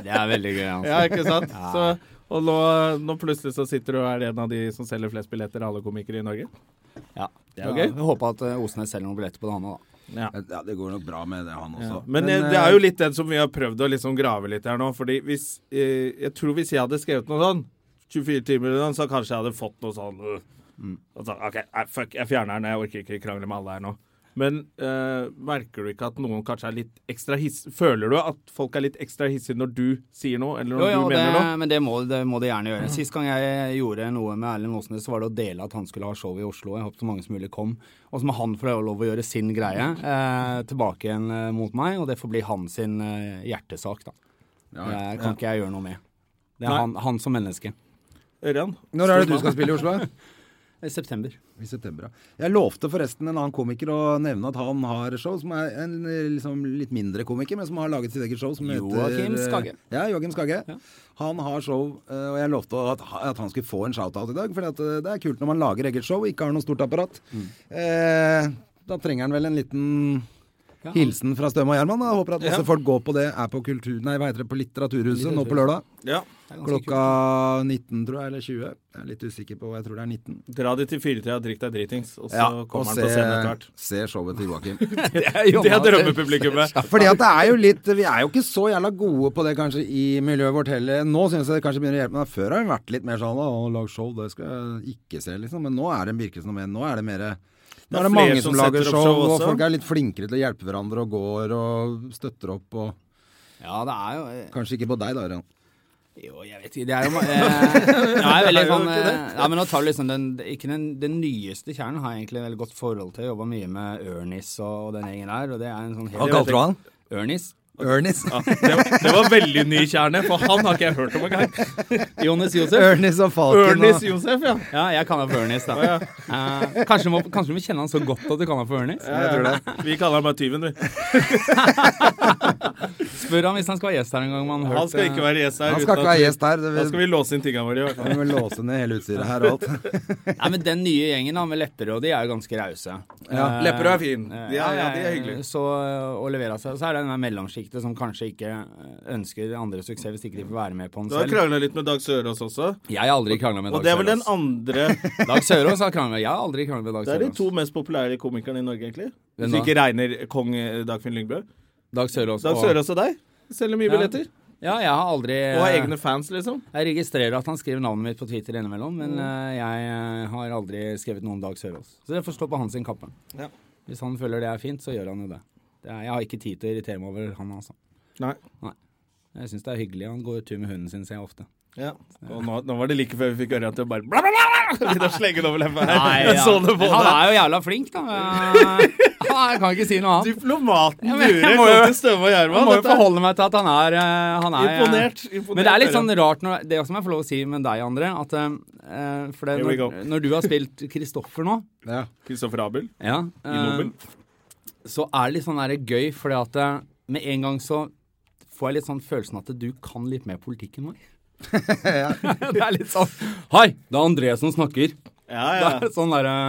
C: Det er veldig gøy, altså.
A: Ja, ikke sant? Så, Og nå, nå plutselig så sitter du og er en av de som selger flest billetter av alle komikere i Norge.
C: Ja, det
A: er
C: er
A: gøy.
C: Jeg håper at eh, Osnes selger noen billetter på det, han òg, da.
A: Ja.
B: Ja, det går nok bra med det, han også.
A: Men, eh, det er jo litt den som vi har prøvd å liksom grave litt her nå. Fordi hvis eh, Jeg tror hvis jeg hadde skrevet noe sånn 24 timer eller noe, så kanskje jeg hadde fått noe sånn øh. Og så, OK, nei, fuck, jeg fjerner den. Jeg orker ikke krangle med alle her nå. Men eh, merker du ikke at noen kanskje er litt ekstra hiss... Føler du at folk er litt ekstra hissige når du sier noe, eller når
C: Jo, ja,
A: du
C: det,
A: mener noe?
C: men det må, det må de gjerne gjøre. Sist gang jeg gjorde noe med Erlend Osnes, så var det å dele at han skulle ha show i Oslo. Jeg håpet så mange som mulig kom. Og så må han få lov å gjøre sin greie eh, tilbake igjen eh, mot meg, og det får bli hans sin eh, hjertesak, da. Det kan ikke jeg gjøre noe med. Det
A: Nei.
C: er han, han som menneske.
A: Ørjan?
B: Når er det du skal spille i Oslo?
C: I September.
B: I september, ja. Jeg lovte forresten en annen komiker å nevne at han har show, som er en eh, liksom, litt mindre komiker, men som har laget sitt eget show. Som
C: Joakim
B: heter, eh,
C: Skagge.
B: Ja, Joakim Skagge. Han har show, eh, og jeg lovte at, at han skulle få en shout-out i dag, for det er kult når man lager eget show og ikke har noe stort apparat. Eh, da trenger han vel en liten
C: Ja, han-
B: hilsen fra Støme og Gjerman. da. Jeg håper at masse folk går på det, er på, kultur, nei, hva heter det, på Litteraturhuset nå på lørdag.
A: Ja.
B: Klokka 19, tror jeg, eller 20. Jeg er litt usikker på, jeg tror det er 19.
A: Dra dit til firetida, drikk deg dritings, og så
B: og
A: kommer han
B: se,
A: på scenen etter hvert.
B: [LAUGHS] se showet til Joakim.
A: [LAUGHS] Det er drømmepublikummet.
B: Fordi at det er jo litt Vi er jo ikke så jævla gode på det kanskje i miljøet vårt heller. Nå syns jeg det kanskje begynner å hjelpe, men før har vi vært litt mer sånn Å, lag show, det skal jeg ikke se, liksom. Men nå er det virker det som en- Nå er det mer Nå
A: Det
B: er
A: er
B: det mange
A: flere
B: som
A: som
B: lager
A: setter
B: show,
A: opp show
B: og
A: også.
B: folk er litt flinkere til å hjelpe hverandre og går og støtter opp og
C: Ja, det er jo eh,
B: Kanskje ikke på deg, da, Ørjan.
C: Jo, jeg vet ikke. Det er [LAUGHS] jo eh, jeg er veldig sånn eh, ja, men nå tar du liksom den, ikke den, den nyeste kjernen har jeg egentlig et veldig godt forhold til. Jeg jobba mye med Ørnis og, og den gjengen der, og det er en sånn
B: Hva kalte du han?
C: Ørnis?
B: Ørnis?
A: Ja, det, var, det var veldig ny kjerne, for han har ikke jeg hørt om engang. [LAUGHS]
C: Jonis Josef?
B: Ørnis og Falken
A: Ørnis
B: og
A: Josef, ja.
C: Ja, jeg kaller han for Ørnis, da. Eh, kanskje, du må, kanskje du må kjenne han så godt at du kaller han for Ørnis?
B: Jeg tror det.
A: Vi kaller han bare Tyven,
B: [LAUGHS]
A: vi.
C: Spør han hvis han skal være gjest her en gang. om Han, har
A: Han
C: hørt,
A: skal
C: eh,
A: ikke være gjest her.
B: Han skal
A: uten
B: ikke
A: at-
B: være gjest her. Det
A: Da skal
B: vil,
A: vi låse inn tingene våre. i hvert fall.
B: vi må låse ned hele utstyret her og alt.
A: [LAUGHS]
C: Nei, men Den nye gjengen da, med Lepperød, de er jo ganske rause.
B: Ja,
A: Lepperød er fin. De er- ja, de er hyggelige.
C: Eh, Så øh, å levere seg. Så er det den der mellomsjiktet som kanskje ikke øh, ønsker andre suksess hvis ikke de får være med på den
A: Du har
C: selv.
A: krangla litt med Dag Sørås også.
C: Jeg har aldri krangla med
A: Og
C: Dag
A: det er vel den [LAUGHS]
C: Sørås.
A: andre
C: Dag Sørås har krangla. Jeg har aldri krangla med Dag
A: Det er de
C: Sørås.
A: to mest populære komikerne i Norge, egentlig. Hvis
C: Hvem
A: du
C: da?
A: ikke regner kong eh, Dagfinn Lyngbø.
C: Dag Sørås
A: Dag
C: og-
A: Sørås og deg selger mye
C: Ja.
A: billetter.
C: Ja, jeg har aldri
A: Og har
C: øh,
A: egne fans, liksom.
C: Jeg registrerer at han skriver navnet mitt på Twitter innimellom,
A: Mm.
C: men øh, jeg øh, har aldri skrevet noe om Dag Sørås. Så det får stå på hans sin kappe.
A: Ja.
C: Hvis han føler det er fint, så gjør han jo det. det er, jeg har ikke tid til å irritere meg over han, altså.
A: Nei.
C: Jeg syns det er hyggelig. Han går tur med hunden sin, ser jeg ofte.
A: Ja. Og nå, nå var det like før vi fikk Ørjan til å bare bla, bla, bla, bla, begynne å slenge den over leppa her. Jeg så det på
C: Han
A: deg.
C: er jo jævla flink, da. Jeg kan ikke si noe annet.
A: Diplomaten
C: Ja, men jeg
A: Bure
C: må jo-
A: kom til Støme og
C: Jeg
A: Gjerman.
C: må jo
A: Dette er-
C: forholde meg til at han er, eh, han er eh,
A: Imponert, imponert,
C: Men det er litt sånn
A: Ørjan.
C: rart når, Det som jeg får lov å si med deg, André at, eh, For det,
A: Here we go.
C: når, når du har spilt Kristoffer nå
B: Ja.
A: Kristoffer Abel
C: ja,
A: [LAUGHS] i Nobel.
C: eh, så er det litt sånn der gøy, fordi at eh, med en gang så får jeg litt sånn følelsen at du kan litt mer
A: [LAUGHS]
C: politikk enn meg. [LAUGHS] det er litt sånn Hei, det er André som snakker.
A: Ja,
C: Det er sånn derre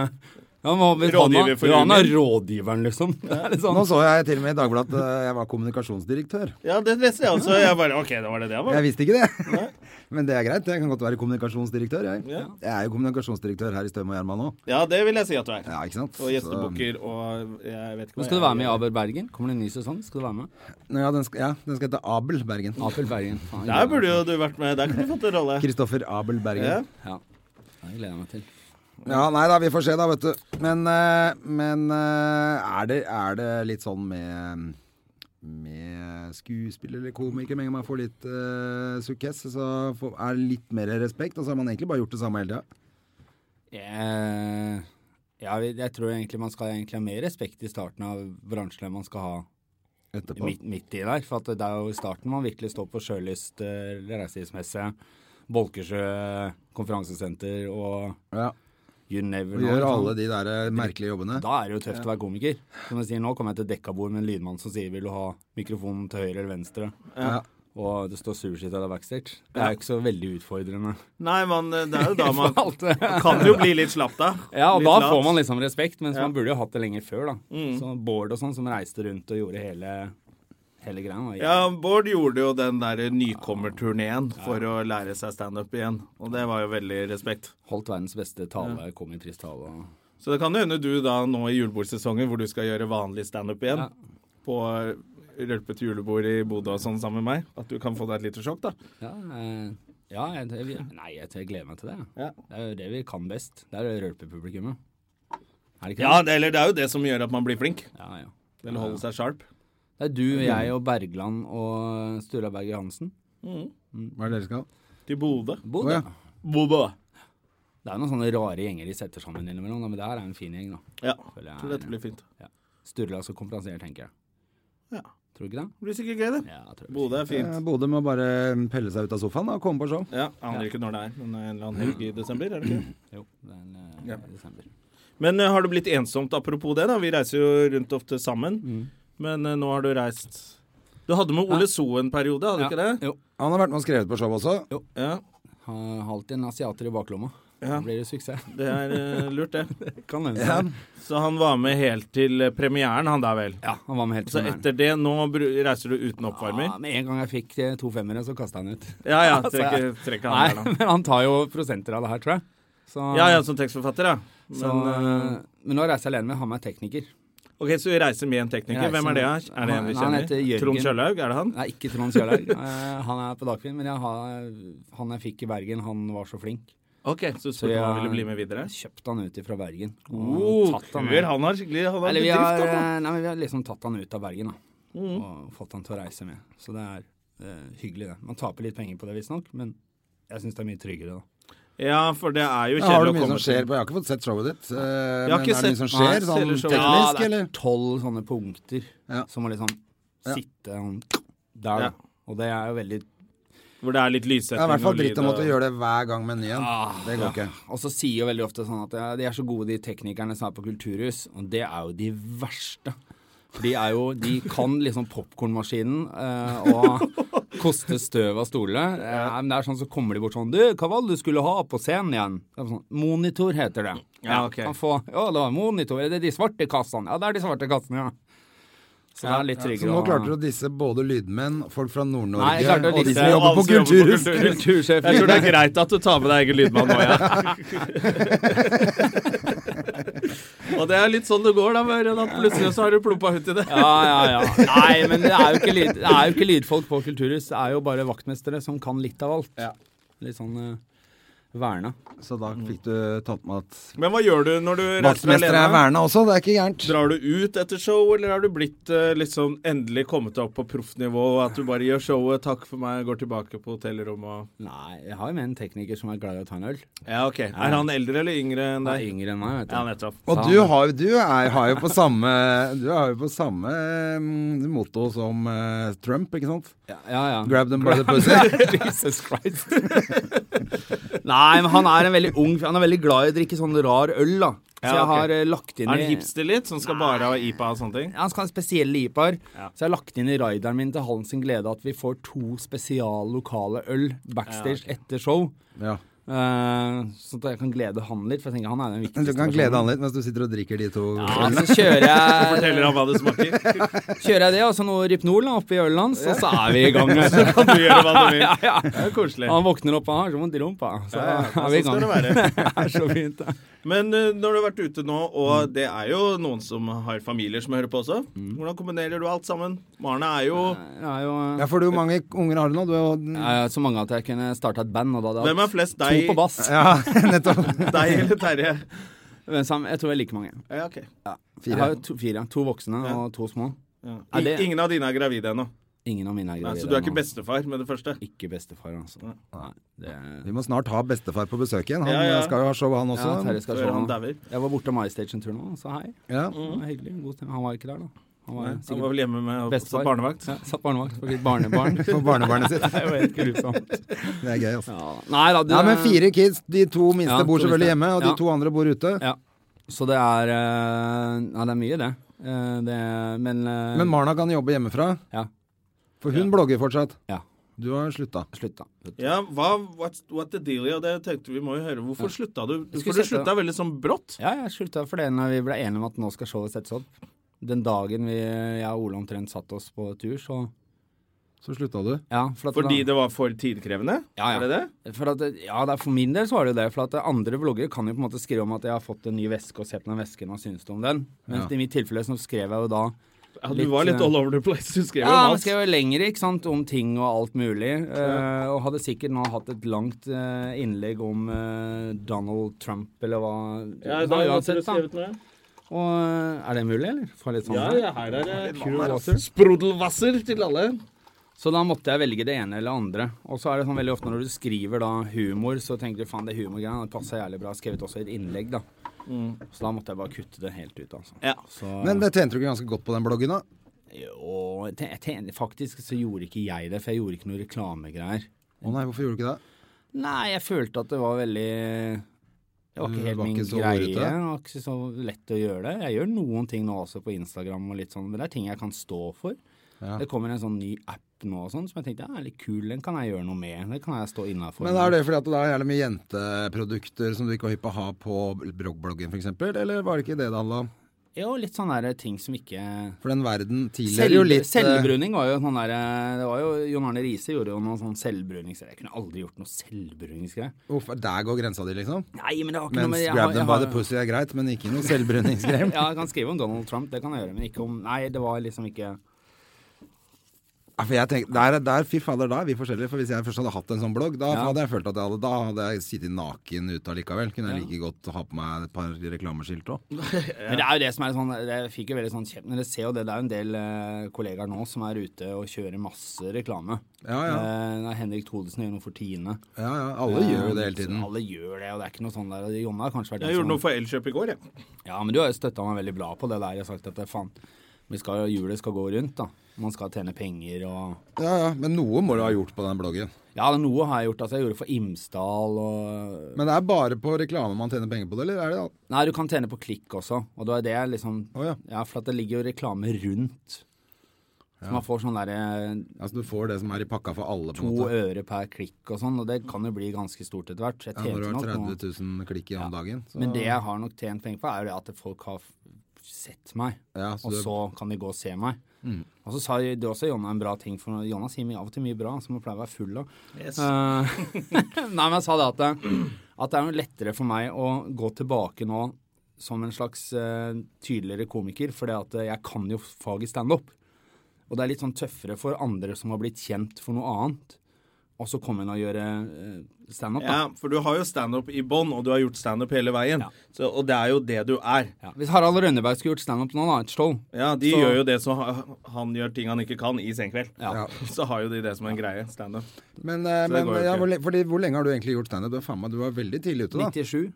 C: ja, men hvis han
A: Rådgiver
C: er-
A: for
C: ja, han er
A: Unio.
C: rådgiveren, liksom. [LAUGHS] Det er litt sånn.
B: Nå så jeg til og med i Dagbladet at eh, jeg var kommunikasjonsdirektør.
A: ja, det leste jeg også. Jeg bare, ok, da var det det. Var.
B: [LAUGHS] Jeg visste ikke det. Men det er greit. Jeg kan godt være kommunikasjonsdirektør, jeg. Jeg er jo kommunikasjonsdirektør her i Støm og Gjerman nå.
A: Ja, det vil jeg si at du er.
B: Ja, ikke sant?
A: Og gjestebukker og jeg vet ikke
C: Men skal du være med i Aber Bergen? Kommer det en ny sesong? Skal du være med?
B: Så- Ja, den skal, ja, den skal hete Abel Bergen.
C: Apel Bergen. Faen,
A: Der burde jo du vært med. Der kunne du fått en rolle.
B: Kristoffer Abel Bergen.
A: Ja.
B: Ja.
C: Ja. Det gleder jeg meg til.
B: nei da, vi får se da, vet du. Men, eh, men eh, er, det, er det litt sånn med med skuespiller eller komiker, med en gang man får litt uh, sukkess, så får, er det litt mer respekt. Og så har man egentlig bare gjort det samme hele tida.
C: Eh, ja, vi- jeg tror egentlig man skal egentlig ha mer respekt i starten av bransjen enn man skal ha
B: Etterpå.
C: midt, midt i der. For at det er jo i starten man virkelig står på Sjølyst eh, reiselivsmesse, Bolkesjø konferansesenter og
B: Ja.
C: you never
B: Vi
C: know.
B: gjør
C: liksom.
B: alle de der eh, merkelige jobbene.
C: Da er det jo tøft å være komiker. Som jeg sier, nå kommer jeg til dekkabord med en lydmann som sier 'vil du ha mikrofonen til høyre eller venstre',
B: Ja.
C: og det står sushi til deg backstage. Det er jo ikke så veldig utfordrende.
A: Nei, man, det er jo
C: [LAUGHS]
A: da man
C: Alt det.
A: kan jo bli litt slapp, da.
C: Ja, og
A: Litt
C: da
A: lat. Mm.
C: får man liksom respekt, mens man burde jo hatt det lenger før, da. Så Bård og sånn, som reiste rundt og gjorde hele hele greia. var-
A: Ja, Bård gjorde jo den der nykommerturneen for å lære seg standup igjen, og det var jo veldig respekt.
C: Holdt verdens beste tale, kom i pristale. og-
A: Så det kan hende du da nå i julebordsesongen, hvor du skal gjøre vanlig standup igjen,
C: Ja.
A: på rølpete julebord i Bodø og sånn sammen med meg, at du kan få deg et lite sjokk, da.
C: Ja, eh, ja jeg, jeg, nei, jeg, jeg gleder meg til det. jeg.
A: Ja.
C: Det er jo det vi kan best. Det er rølpepublikummet. Er det ikke
A: Ja,
C: det?
A: det, eller det er jo det som gjør at man blir flink.
C: Ja, ja.
A: Eller holder seg sharp.
C: Det er du, jeg og Bergland og Sturla Berger Hansen.
B: Hva er det dere skal?
A: Til Bodø.
C: Bodø.
B: Å, ja.
A: Bodø.
C: Det er jo noen sånne rare gjenger de setter sammen innimellom, da, men det her er en fin gjeng, da.
A: Ja.
C: Føler jeg
A: Tror
C: er-
A: dette blir fint.
C: Sturla som konferansier, tenker jeg.
A: Ja.
C: Tror du ikke det?
A: Det blir sikkert gøy, det.
C: Ja, jeg tror det.
A: Bodø er fint.
B: Eh, Bodø må bare pelle seg ut av sofaen og komme på show.
A: Ja, Aner ikke når det er, men eh, en eller annen helg i desember, er det ikke? [CLEARS THROAT] det?
C: Jo, det er en, eh,
A: Ja.
C: desember.
A: Men eh, har det blitt ensomt, apropos det, da? Vi reiser jo rundt ofte sammen. Men eh, nå har du reist Du hadde med Ole So en periode, hadde du ikke det?
C: Jo.
B: Han har vært med og skrevet på show også.
A: Ja,
C: Ha, ha alltid en asiater i baklomma.
A: Ja.
C: Da blir det suksess.
A: det er eh, lurt, det.
C: Kan hende.
B: Ja.
C: Ja.
A: Så han var med helt til eh, premieren, han da vel?
C: han var med helt
A: Så
C: til
A: etter det, nå bru- reiser du uten oppvarmer?
C: Ja, med en gang jeg fikk eh, to femmere, så kasta han ut.
A: Ja ja,
C: Så
A: trekker,
C: jeg-
A: trekker han
C: Nei,
A: der, da.
C: men [LAUGHS] han tar jo prosenter av det her, tror jeg. Så,
A: Ja ja, som tekstforfatter, ja. Men,
C: så,
A: eh,
C: eh, men nå reiser jeg alene med han med tekniker.
A: OK, så vi reiser med en tekniker.
C: Jeg reiser
A: Hvem er det?
C: med-
A: Er det en vi
C: Han- han
A: kjenner?
C: heter Jørgen.
A: Trond Kjøllaug, er det han?
C: Nei, ikke Trond Kjølaug.
A: [LAUGHS]
C: Eh, han er på Dagfinn, men jeg har, han jeg fikk i Bergen, han var så flink.
A: OK, så
C: Så
A: spurte han om han
C: jeg-
A: ville bli med videre.
C: Jeg kjøpte han ut fra Bergen. og
A: Oh,
C: Mm, tatt han med.
A: Hør, han har skikkelig han har
C: Eller vi
A: bedrift,
C: har,
A: altså. Mm.
C: eh, nei, men vi har liksom tatt han ut av Bergen, da. Og fått han til å reise med. Så det er eh, hyggelig, det. Man taper litt penger på det, visstnok, men jeg syns det er mye tryggere, da.
A: Ja, for det er jo
B: Ja, har
A: kjedelig
B: du
A: å
B: mye
A: komme
B: som skjer
A: til.
B: på Jeg har ikke fått sett showet ditt. eh,
A: har
B: men er
A: ikke
B: det mye
A: sett-
B: som skjer
A: Nei,
B: sånn
A: selger showet.
B: teknisk,
C: ja, det
B: eller?
C: er tolv sånne punkter
B: Ja.
C: som må liksom
B: Ja.
C: sitte sånn der,
A: Ja.
C: da. Og det er jo veldig
A: Hvor det er litt
B: Det
A: lyssetting
B: er i hvert fall dritt å
A: og Ah,
B: måtte gjøre det hver gang med en ny en. Det går ikke.
C: Og så sier jo veldig ofte sånn at ja, de er så gode, de teknikerne som er på kulturhus, og det er jo de verste. For de er jo De kan liksom popkornmaskinen eh, og koste støv av stolene. Eh, men det er sånn så kommer de bort sånn Du, hva var det du skulle ha på scenen igjen? Det er sånn, monitor heter det.
A: Ja, ok.
C: Kan få, ja, det var monitor. Er det de svarte kassene? Ja, det er de svarte kassene, ja. Så det er litt
B: Så
C: tryggere.
B: nå
C: å-
B: klarte du å disse både lydmenn, folk fra
C: Nei, jeg
B: Nord-Norge
C: klarte å
B: og de
C: disse
B: som jobber på
A: alle som jobber på
B: kulturhus. [LAUGHS]
A: kulturhus.
C: Kultursjef.
A: Jeg tror det er greit at du tar med deg egen lydmann nå, ja. [LAUGHS] og det er litt sånn det går, da, Møren, at plutselig så har du plumpa hutt i det.
C: Ja, ja, ja. Nei, men det er jo ikke, lyd, det er jo ikke lydfolk på kulturhus. Det er jo bare vaktmestere som kan litt av alt. Litt sånn uh, verna.
B: Så da
A: Mm.
B: fikk du tatt med at
A: Men hva gjør du når du reiser
B: Vaktmester er
A: alene?
B: verna også, det er ikke gærent.
A: Drar du ut etter show, eller har du blitt eh, liksom endelig kommet deg opp på proffnivå, og at du bare gjør showet, takk for meg, går tilbake på hotellrommet og
C: Nei, jeg har jo med en tekniker som er glad i å ta en øl.
A: Ja, OK. Er han eldre eller yngre enn
C: Han er
A: deg?
C: yngre enn meg, vet du.
A: Ja, nettopp.
B: Og du har, du er, har jo på samme, du har jo på samme mm, motto som eh, Trump, ikke sant?
C: Ja, ja. ja. [LAUGHS]
B: Grab them by the pussy.
C: Jesus Christ. [LAUGHS] Nei, men han er en veldig ung fyr. Han er veldig glad i å drikke sånn rar øl, da. Så
A: Ja,
C: jeg
A: ok.
C: har eh, lagt
A: Er
C: inn i
A: han hipster litt, som skal bare ha IPA og sånne ting?
C: Ja, han skal ha en spesiell IPAR.
A: Ja.
C: Så jeg har lagt inn i rideren min til Hallen sin glede at vi får to spesial lokale øl backstage etter show.
B: ja.
C: Eh, sånn at jeg kan glede han litt, for jeg tenker han er den
B: Men
C: viktigste.
B: Du kan glede han litt mens du sitter og drikker de to.
C: Ja, altså. så kjører jeg,
A: Forteller han hva det smaker? [LAUGHS]
C: kjører jeg det, og så noe Rypnol da, oppi ølen hans, og så er vi i gang.
A: Så kan du gjøre hva du vil.
C: Ja, ja.
A: Det er koselig.
C: Han våkner opp og har så vondt i rumpa, så
A: Ja, ja,
C: er vi i
A: sånn skal det
C: gang.
A: være.
C: Det er så fint. da.
A: Men eh, når du har vært ute nå,
C: Mm.
A: og det er jo noen som har familier som hører på også, hvordan kombinerer du alt sammen? Marne er jo
C: Jeg er jo eh,
B: Ja, for du, hvor mange unger har du nå? Du er jo
C: jeg er så mange at jeg kunne starta et band, og da hadde
A: Hvem
C: jeg
A: er flest?
C: hatt to
A: Deg,
C: på bass.
B: Ja, [LAUGHS] nettopp.
A: [LAUGHS] deg eller Terje?
C: Men sam- Jeg tror jeg er like mange.
A: Ja, ok.
C: Jeg har jo to, fire. To voksne
A: Ja.
C: og to små.
A: Ja.
C: Er det-
A: Ingen av dine er gravide ennå,
C: Ingen av mine er
A: Nei,
C: gravide.
A: så du er ikke
C: nå.
A: bestefar med det første?
C: Ikke bestefar, altså. Nei, det...
B: Vi må snart ha bestefar på besøk igjen. Han
A: Ja, ja.
B: eh, skal jo ha show, han
C: Ja,
B: også.
C: Terje skal Mm.
A: Før
C: se
A: han
C: nå.
A: dauer.
C: Jeg var borte av MyStage en tur nå, så hei.
B: Ja.
C: Det var hyggelig. God stemning. Han var ikke der, da. Han var
A: Han var
C: sikkert
A: vel hjemme med også
C: bestefar.
A: barnevakt?
C: Ja, satt barnevakt for sitt barnebarn.
B: For barnebarnet
C: [LAUGHS]
B: sitt.
C: det var helt grusomt.
B: Det er gøy, altså.
C: Ja. Nei da, det
B: Ja, men fire kids. De to minste
C: Ja, to
B: bor selvfølgelig
C: minste.
B: hjemme, og de
C: Ja.
B: to andre bor ute.
C: Ja. Så det er eh, Ja, det er mye, det. Eh, det men eh,
B: Men Marna kan jobbe hjemmefra,
C: Ja.
B: for hun blogger fortsatt.
C: ja.
B: Du har slutta.
C: Slutt, da. Slutt.
A: Ja, hva what, what the deal? Ja, det tenkte vi må jo høre. Hvorfor slutta du?
C: skulle
A: For du
C: sette-
A: slutta veldig sånn brått.
C: Ja, jeg slutta for det når vi ble enige om at nå skal showet settes opp. den dagen vi, jeg og Ole omtrent satte oss på tur, så
B: Så slutta du.
C: ja, for at
A: Fordi
C: da-
A: det var for tidkrevende?
C: Ja, ja.
A: Er det det?
C: For at, ja, det er for min del så var det jo det. For at andre vlogger kan jo på en måte skrive om at jeg har fått en ny veske, og se på den vesken og synes du om den. Mens
B: Ja.
C: i mitt tilfelle så skrev jeg jo da
A: Ja, du
C: Litt,
A: var litt
C: eh,
A: all over the place. Du skrev jo
C: Ja,
A: om
C: men
A: alt.
C: skrev jo lenger, ikke sant, om ting og alt mulig. eh, og hadde sikkert nå hatt et langt eh, innlegg om eh, Donald Trump, eller hva
A: Ja,
C: da,
A: da måtte du
C: uansett, da.
A: skrevet noe.
C: Og eh, er det mulig, eller? Få litt sånn
A: Ja, ja, her er det
C: Water.
A: sprudelwasser til alle.
C: Så da måtte jeg velge det ene eller andre. Og så er det sånn veldig ofte når du skriver da humor, så tenker du faen, det humorgreiene passer jævlig bra. Skrevet også i et innlegg, da. Så da måtte jeg bare kutte det helt ut, altså.
A: Ja.
C: Så,
B: Men det tjente du ikke ganske godt på den bloggen, da?
C: og jeg ten- jeg ten- faktisk så gjorde ikke jeg det, for jeg gjorde ikke noe reklamegreier.
B: Å nei, hvorfor gjorde du ikke det?
C: Nei, jeg følte at det var veldig Det var
B: Du
C: ikke helt
B: Mm, var
C: min
B: ikke så
C: greie.
B: ordete?
C: Det var ikke så lett å gjøre det. Jeg gjør noen ting nå også på Instagram og litt sånn, men det er ting jeg kan stå for.
B: Ja.
C: Det kommer en sånn ny app nå og sånn som jeg tenkte ja, er litt kul, den kan jeg gjøre noe med. Det kan jeg stå innafor.
B: Men er det fordi at det er jævlig mye jenteprodukter som du ikke var hypp på å ha på bloggen f.eks., eller var det ikke det det handla om?
C: Jo, litt sånne der ting som ikke
B: For den verden tidligere jo
C: Selv,
B: litt eh,
C: Selvbruning var jo sånn der det var jo, Jon Arne Riise gjorde jo noen sånn selvbruningsgreier. Jeg kunne aldri gjort noe selvbruningsgreier.
B: hvorfor- Der går grensa di, liksom?
C: Nei, men det var ikke noe
B: Mens
C: med jeg har-
B: grab them
C: jeg
B: by
C: har-
B: the pussy er greit, men ikke noe
C: [LAUGHS]
B: selvbruningsgreier.
C: Ja, jeg kan skrive om Donald Trump, det kan jeg gjøre, men ikke om Nei, det var liksom ikke
B: Ja, for jeg tenkte, der, der, fy fader, da er vi forskjellige. For hvis jeg først hadde hatt en sånn blogg, da
C: Ja.
B: hadde jeg følt at jeg hadde Da hadde jeg sittet naken ute allikevel. Kunne jeg
C: Ja.
B: like godt ha på meg et par reklameskilt òg.
C: Men det er jo det som er sånn Jeg fikk jo veldig sånn kjeft, men dere ser jo det. Det er jo en del eh, kollegaer nå som er ute og kjører masse reklame.
B: Ja, ja.
C: Eh, det er Henrik Thodesen gjør noe for Tine.
B: Ja, ja. Alle gjør jo det hele tiden.
C: Så Alle gjør det, og det er ikke noe sånn der. Jonna har kanskje vært
A: Jeg gjorde
C: den som-
A: noe for Elkjøp i går, jeg.
C: Ja, men du har jo støtta meg veldig bra på det der. Jeg har sagt at eh, faen, vi skal, hjulet skal gå rundt, da. Man skal tjene penger og
B: Ja, ja. Men noe må du ha gjort på den bloggen.
C: Ja, det er noe har jeg gjort. Altså, jeg gjorde det for Imsdal og
B: Men det er bare på reklame man tjener penger på det, eller er det alt?
C: Nei, du kan tjene på klikk også, og det var det jeg liksom
B: Å, ja.
C: for at det ligger jo reklame rundt. Så man får sånn derre
B: Altså, du får det som er i pakka for alle, på
C: to
B: en måte.
C: øre per klikk og sånn, og det kan jo bli ganske stort etter hvert. Jeg
B: Ja, når du
C: tjente
B: har 30
C: nok nå.
B: 000 klikk i om dagen. Så,
C: Men det jeg har nok tjent penger på, er jo det at folk har f- sett meg,
B: Ja, så
C: og
B: det- Mm.
C: så kan de gå og se meg. Og så sa jo det også Jonna en bra ting, for Jonna sier mye- av og til mye bra som hun pleier å være full av. Eh, [LAUGHS] Nei, men jeg sa det at, det- at det er jo lettere for meg å gå tilbake nå som en slags eh, tydeligere komiker, for jeg kan jo faget standup. Og det er litt sånn tøffere for andre som har blitt kjent for noe annet, og så komme inn og gjøre eh, standup.
A: Ja,
C: da.
A: for du har jo standup i bånn, og du har gjort standup hele veien.
C: Ja.
A: Så, og det er jo det du er.
C: Ja. Hvis Harald Rønneberg skulle gjort standup nå, da, et show
A: Ja, De
C: Så-
A: gjør jo det som ha- han gjør ting han ikke kan i Senkveld.
C: Ja.
A: [LAUGHS] Så har jo de det som en greie. Standup.
B: men, eh,
A: det
B: men
A: går jo
B: ja,
A: ikke.
B: hvor, le- fordi, hvor lenge har du egentlig gjort standup? Du, er faen meg- du var veldig tidlig ute, da.
C: 97,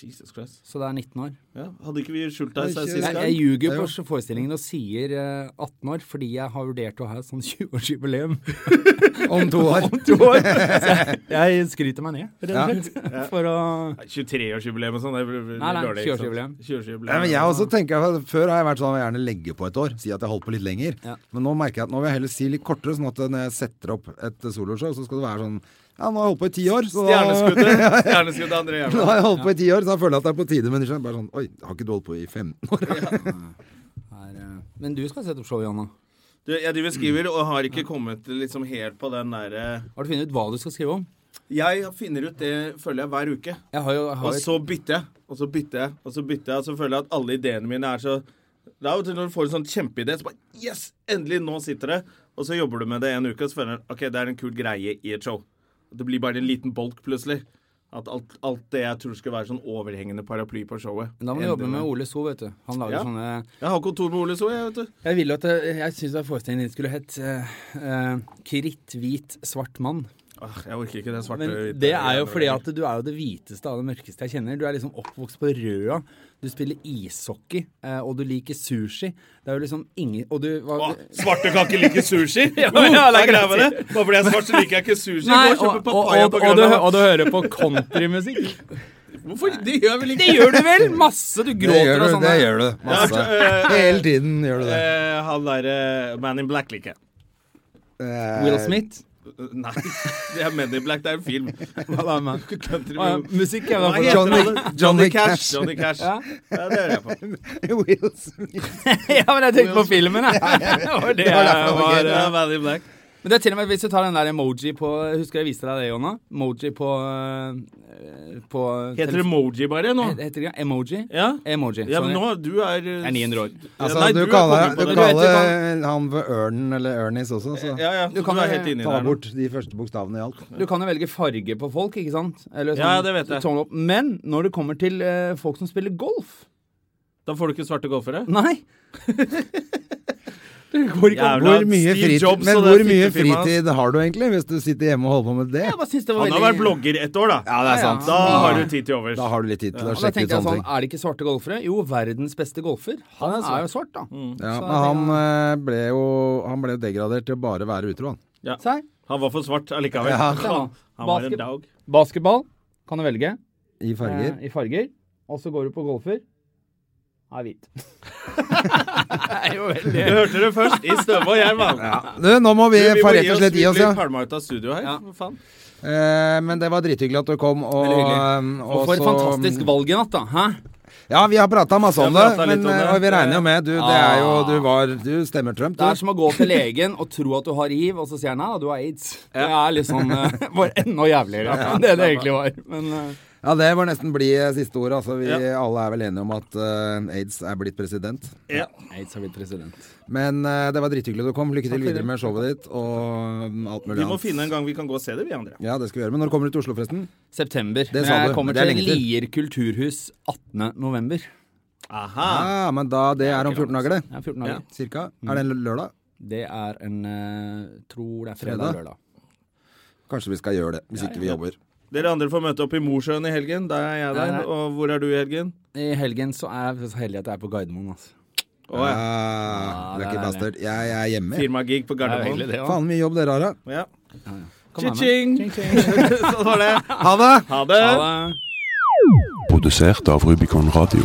A: Jesus Christ.
C: så det er 19 år.
A: Ja, hadde ikke vi skjult deg
B: Ikke-
A: sist
C: Jeg,
A: gang?
C: jeg ljuger
B: Ja,
C: på forestillingen og sier eh, 18 år fordi jeg har vurdert å ha et sånn [LAUGHS] 20-årsjubileum.
A: [LAUGHS]
B: Om to år.
C: Jeg skryter meg ned, rett
B: Ja.
C: og slett. For å
A: Nei, 23-årsjubileum og sånn. det blir- blir
C: Nei, nei,
A: dårlig, ikke sant?
C: 20-årsjubileum.
A: 20-årsjubileum.
B: Ja, men jeg også tenker, at Før har jeg vært sånn at jeg gjerne legger på et år, si at jeg holdt på litt lenger.
C: Ja.
B: Men nå merker jeg at nå vil jeg heller si litt kortere, sånn at når jeg setter opp et soloshow, så skal det være sånn Ja, nå har jeg holdt på i ti år, så da,
A: Stjerneskuddet. Stjerneskuddet
B: [LAUGHS]
A: André
B: nå
A: Gjerman.
B: har jeg holdt på i ti år, så da føler jeg at det er på tide. Men det er bare sånn Oi, har ikke du holdt på i 15 år?
C: er, eh, Men du skal sette opp show, Janna.
A: Du, Jeg driver og skriver og har ikke kommet liksom helt på den eh, derre
C: Har du funnet ut hva du skal skrive om?
A: Jeg finner ut det, føler jeg, hver uke.
C: Jeg har jo jeg
A: Og
C: har et,
A: så bytter jeg, og så bytter jeg, og så bytter jeg, og så føler jeg at alle ideene mine er så Det er jo til når du får en sånn kjempeidé, så bare Yes! Endelig, nå sitter det. Og så jobber du med det en uke, og så føler du OK, det er en kul greie i et show. Det blir bare en liten bolk, plutselig. At alt, alt det jeg tror skal være sånn overhengende paraply på showet
C: men da må du jobbe
A: ender
C: med Ole So, vet du. Han lager
A: Ja.
C: sånne
A: Jeg har kontor med Ole So, jeg, vet du.
C: Jeg ville at det- Jeg syns forestillingen din skulle hett eh, eh, Kritt, hvit, svart mann.
A: Åh, jeg orker ikke det svarte
C: Men
A: hvite
C: det er jo
A: greiene
C: fordi
A: lenger.
C: at du er jo det hviteste av det mørkeste jeg kjenner. Du er liksom oppvokst på Røa. Du spiller ishockey, eh, og du liker sushi. Det er jo liksom ingen Og du hva,
A: Åh, svarte kan ikke like sushi! ja,
C: men ja, det er greit å si.
A: Bare fordi jeg er svart, så liker jeg ikke sushi.
C: Nei,
A: Gå og
C: og,
A: kjøpe
C: og, og,
A: papaya
C: og,
A: på
C: du,
A: Grønland.
C: og du hører på countrymusikk.
A: Hvorfor? Det gjør vel ikke
C: Det gjør du vel? Masse. Du
B: Det gjør
C: gråter og
B: du,
C: sånn.
B: det
C: der.
B: gjør du. Masse.
A: Ja, øh,
B: Hele tiden gjør du det.
A: Eh, han derre Man in Black liker jeg.
B: Eh,
C: Will Smith.
A: Nei, det er Men in Black. Det er en film. Hva da, man? Country
C: Å, ja, musikk er det
A: Hva
C: for
A: heter
C: deg.
B: Johnny-
A: han?
B: Johnny Cash.
A: Johnny Cash.
C: Ja.
A: Ja, det hører jeg
B: [LAUGHS]
A: på.
B: Will Smith.
C: Ja, men jeg tenkte på filmen, jeg. Det var det
B: Det var derfor det
C: jeg
B: var gøy,
C: var
B: det.
A: Ja, Man in Black.
C: Men det er til og med hvis du tar den der emoji på Husker jeg viste deg det, Jonna? Emoji på, øh, på
A: Heter det Moji bare nå?
C: Eh, Heter det ja, emoji?
A: Ja?
C: Emoji.
A: ja men
C: sorry.
A: nå, du er Jeg
C: Jeg er 900 år.
B: Altså,
A: Nei,
B: du,
A: er
B: kaller,
A: kommet på
B: du
A: det.
B: kaller han for Ørnen eller Ørnis også, så
A: Ja, ja,
C: Du
A: så
C: kan
A: du er
C: jo
A: helt inni
B: ta
A: der nå.
B: bort de første bokstavene i alt.
C: Du kan jo velge farge på folk, ikke sant? Eller
A: Ja, ja, det vet jeg.
C: tommel opp. Men når det kommer til eh, folk som spiller golf [LAUGHS]
A: Da får du ikke svarte golfere.
C: Nei! [LAUGHS] det går ikke an.
A: Jævla
B: Hvor mye,
A: Steve
B: fritid,
A: Jobs
B: men
A: og det
B: hvor mye
A: fittefirmaet hans.
B: fritid har du egentlig, hvis du sitter hjemme og holder på med det?
C: Jeg bare synes det var
A: Han har
C: veldig-
A: vært blogger ett år, da.
B: Ja, det er sant.
A: Da har du tid til overs.
B: Da har du litt tid til å
C: Og da
B: sjekke ut
C: tenkte jeg
B: sånne
C: sånn,
B: ting.
C: er det ikke svarte golfere? Jo, verdens beste golfer. Han, er, jo svart, da.
A: Mm.
B: Ja,
C: Så
B: men
C: jeg
B: han
C: tenker-
B: eh, ble, jo, han ble jo degradert til å bare være utro, han.
C: Sei.
A: Han var for svart allikevel.
B: Ja.
A: Han, han var en dog.
C: Basketball kan du velge
B: I farger.
C: eh, i farger. Og så går du på golfer. Er hvit.
A: Du hørte det først i Støve og Jerv.
B: Ja. Du, nå må vi,
A: Vi må
B: få rett og slett
A: vi
B: gi oss,
A: blir
B: ja.
A: pælma ut av studio her. for faen.
B: Eh, men det var drithyggelig at du kom. Og, eh,
C: Veldig hyggelig. Og for et
B: så-
C: fantastisk valg i natt, da. Hæ?
B: Ja, vi har prata masse om
A: Vi har
B: det,
A: pratet
B: men, eh,
A: litt om det.
B: og vi regner jo med Du, det er jo,
C: Ah.
B: du, var, du stemmer Trump,
C: Det er
B: du.
C: som å gå til legen og tro at du har hiv, og så sier han nei, da, du har aids. Det er liksom eh,
B: [LAUGHS]
C: var enda jævligere enn det det egentlig var. Men eh,
B: Ja, det var nesten bli eh, siste ord. Altså, vi
A: Ja.
B: alle er vel enige om at eh, aids er blitt president.
A: Ja.
C: aids har blitt president.
B: Men eh, det var drithyggelig du kom. Lykke til videre med showet ditt og mm, alt mulig
A: Vi må finne en gang vi kan gå og se det, vi andre.
B: Ja, det skal vi gjøre. Men når kommer du til Oslo, forresten?
C: September.
B: Det
C: Men
B: sa
C: jeg
B: du.
C: kommer
B: Det er
C: til
B: lenge til.
C: Lier kulturhus 18. november.
A: Aha.
B: Ja, Ah, men da, Det er om 14 dager, det.
C: Det er 14 dager.
B: Cirka. Er det
A: Mm.
B: en lørdag?
C: Det er en eh, tror det er fredag,
B: Fredag?
C: fredag. lørdag.
B: Kanskje vi skal gjøre det, hvis ikke vi jobber.
A: Dere andre får møte opp i Mosjøen i helgen. Der er jeg der.
C: Der er-
A: Og hvor er du i helgen?
C: I helgen så er jeg så heldig at jeg er på Gardermoen, altså.
A: Å ja.
B: Ah,
C: det er
B: Lucky
C: deilig.
B: bastard. Jeg er hjemme. jeg.
A: Firmagig på Gardermoen.
B: [LAUGHS] Faen mye jobb dere har, da.
A: Ja.
C: Kom med meg.
A: Ching-ching! Sånn var det.
B: Ha det!
A: Ha det.
C: Ha det.
D: Produsert av Rubicon Radio.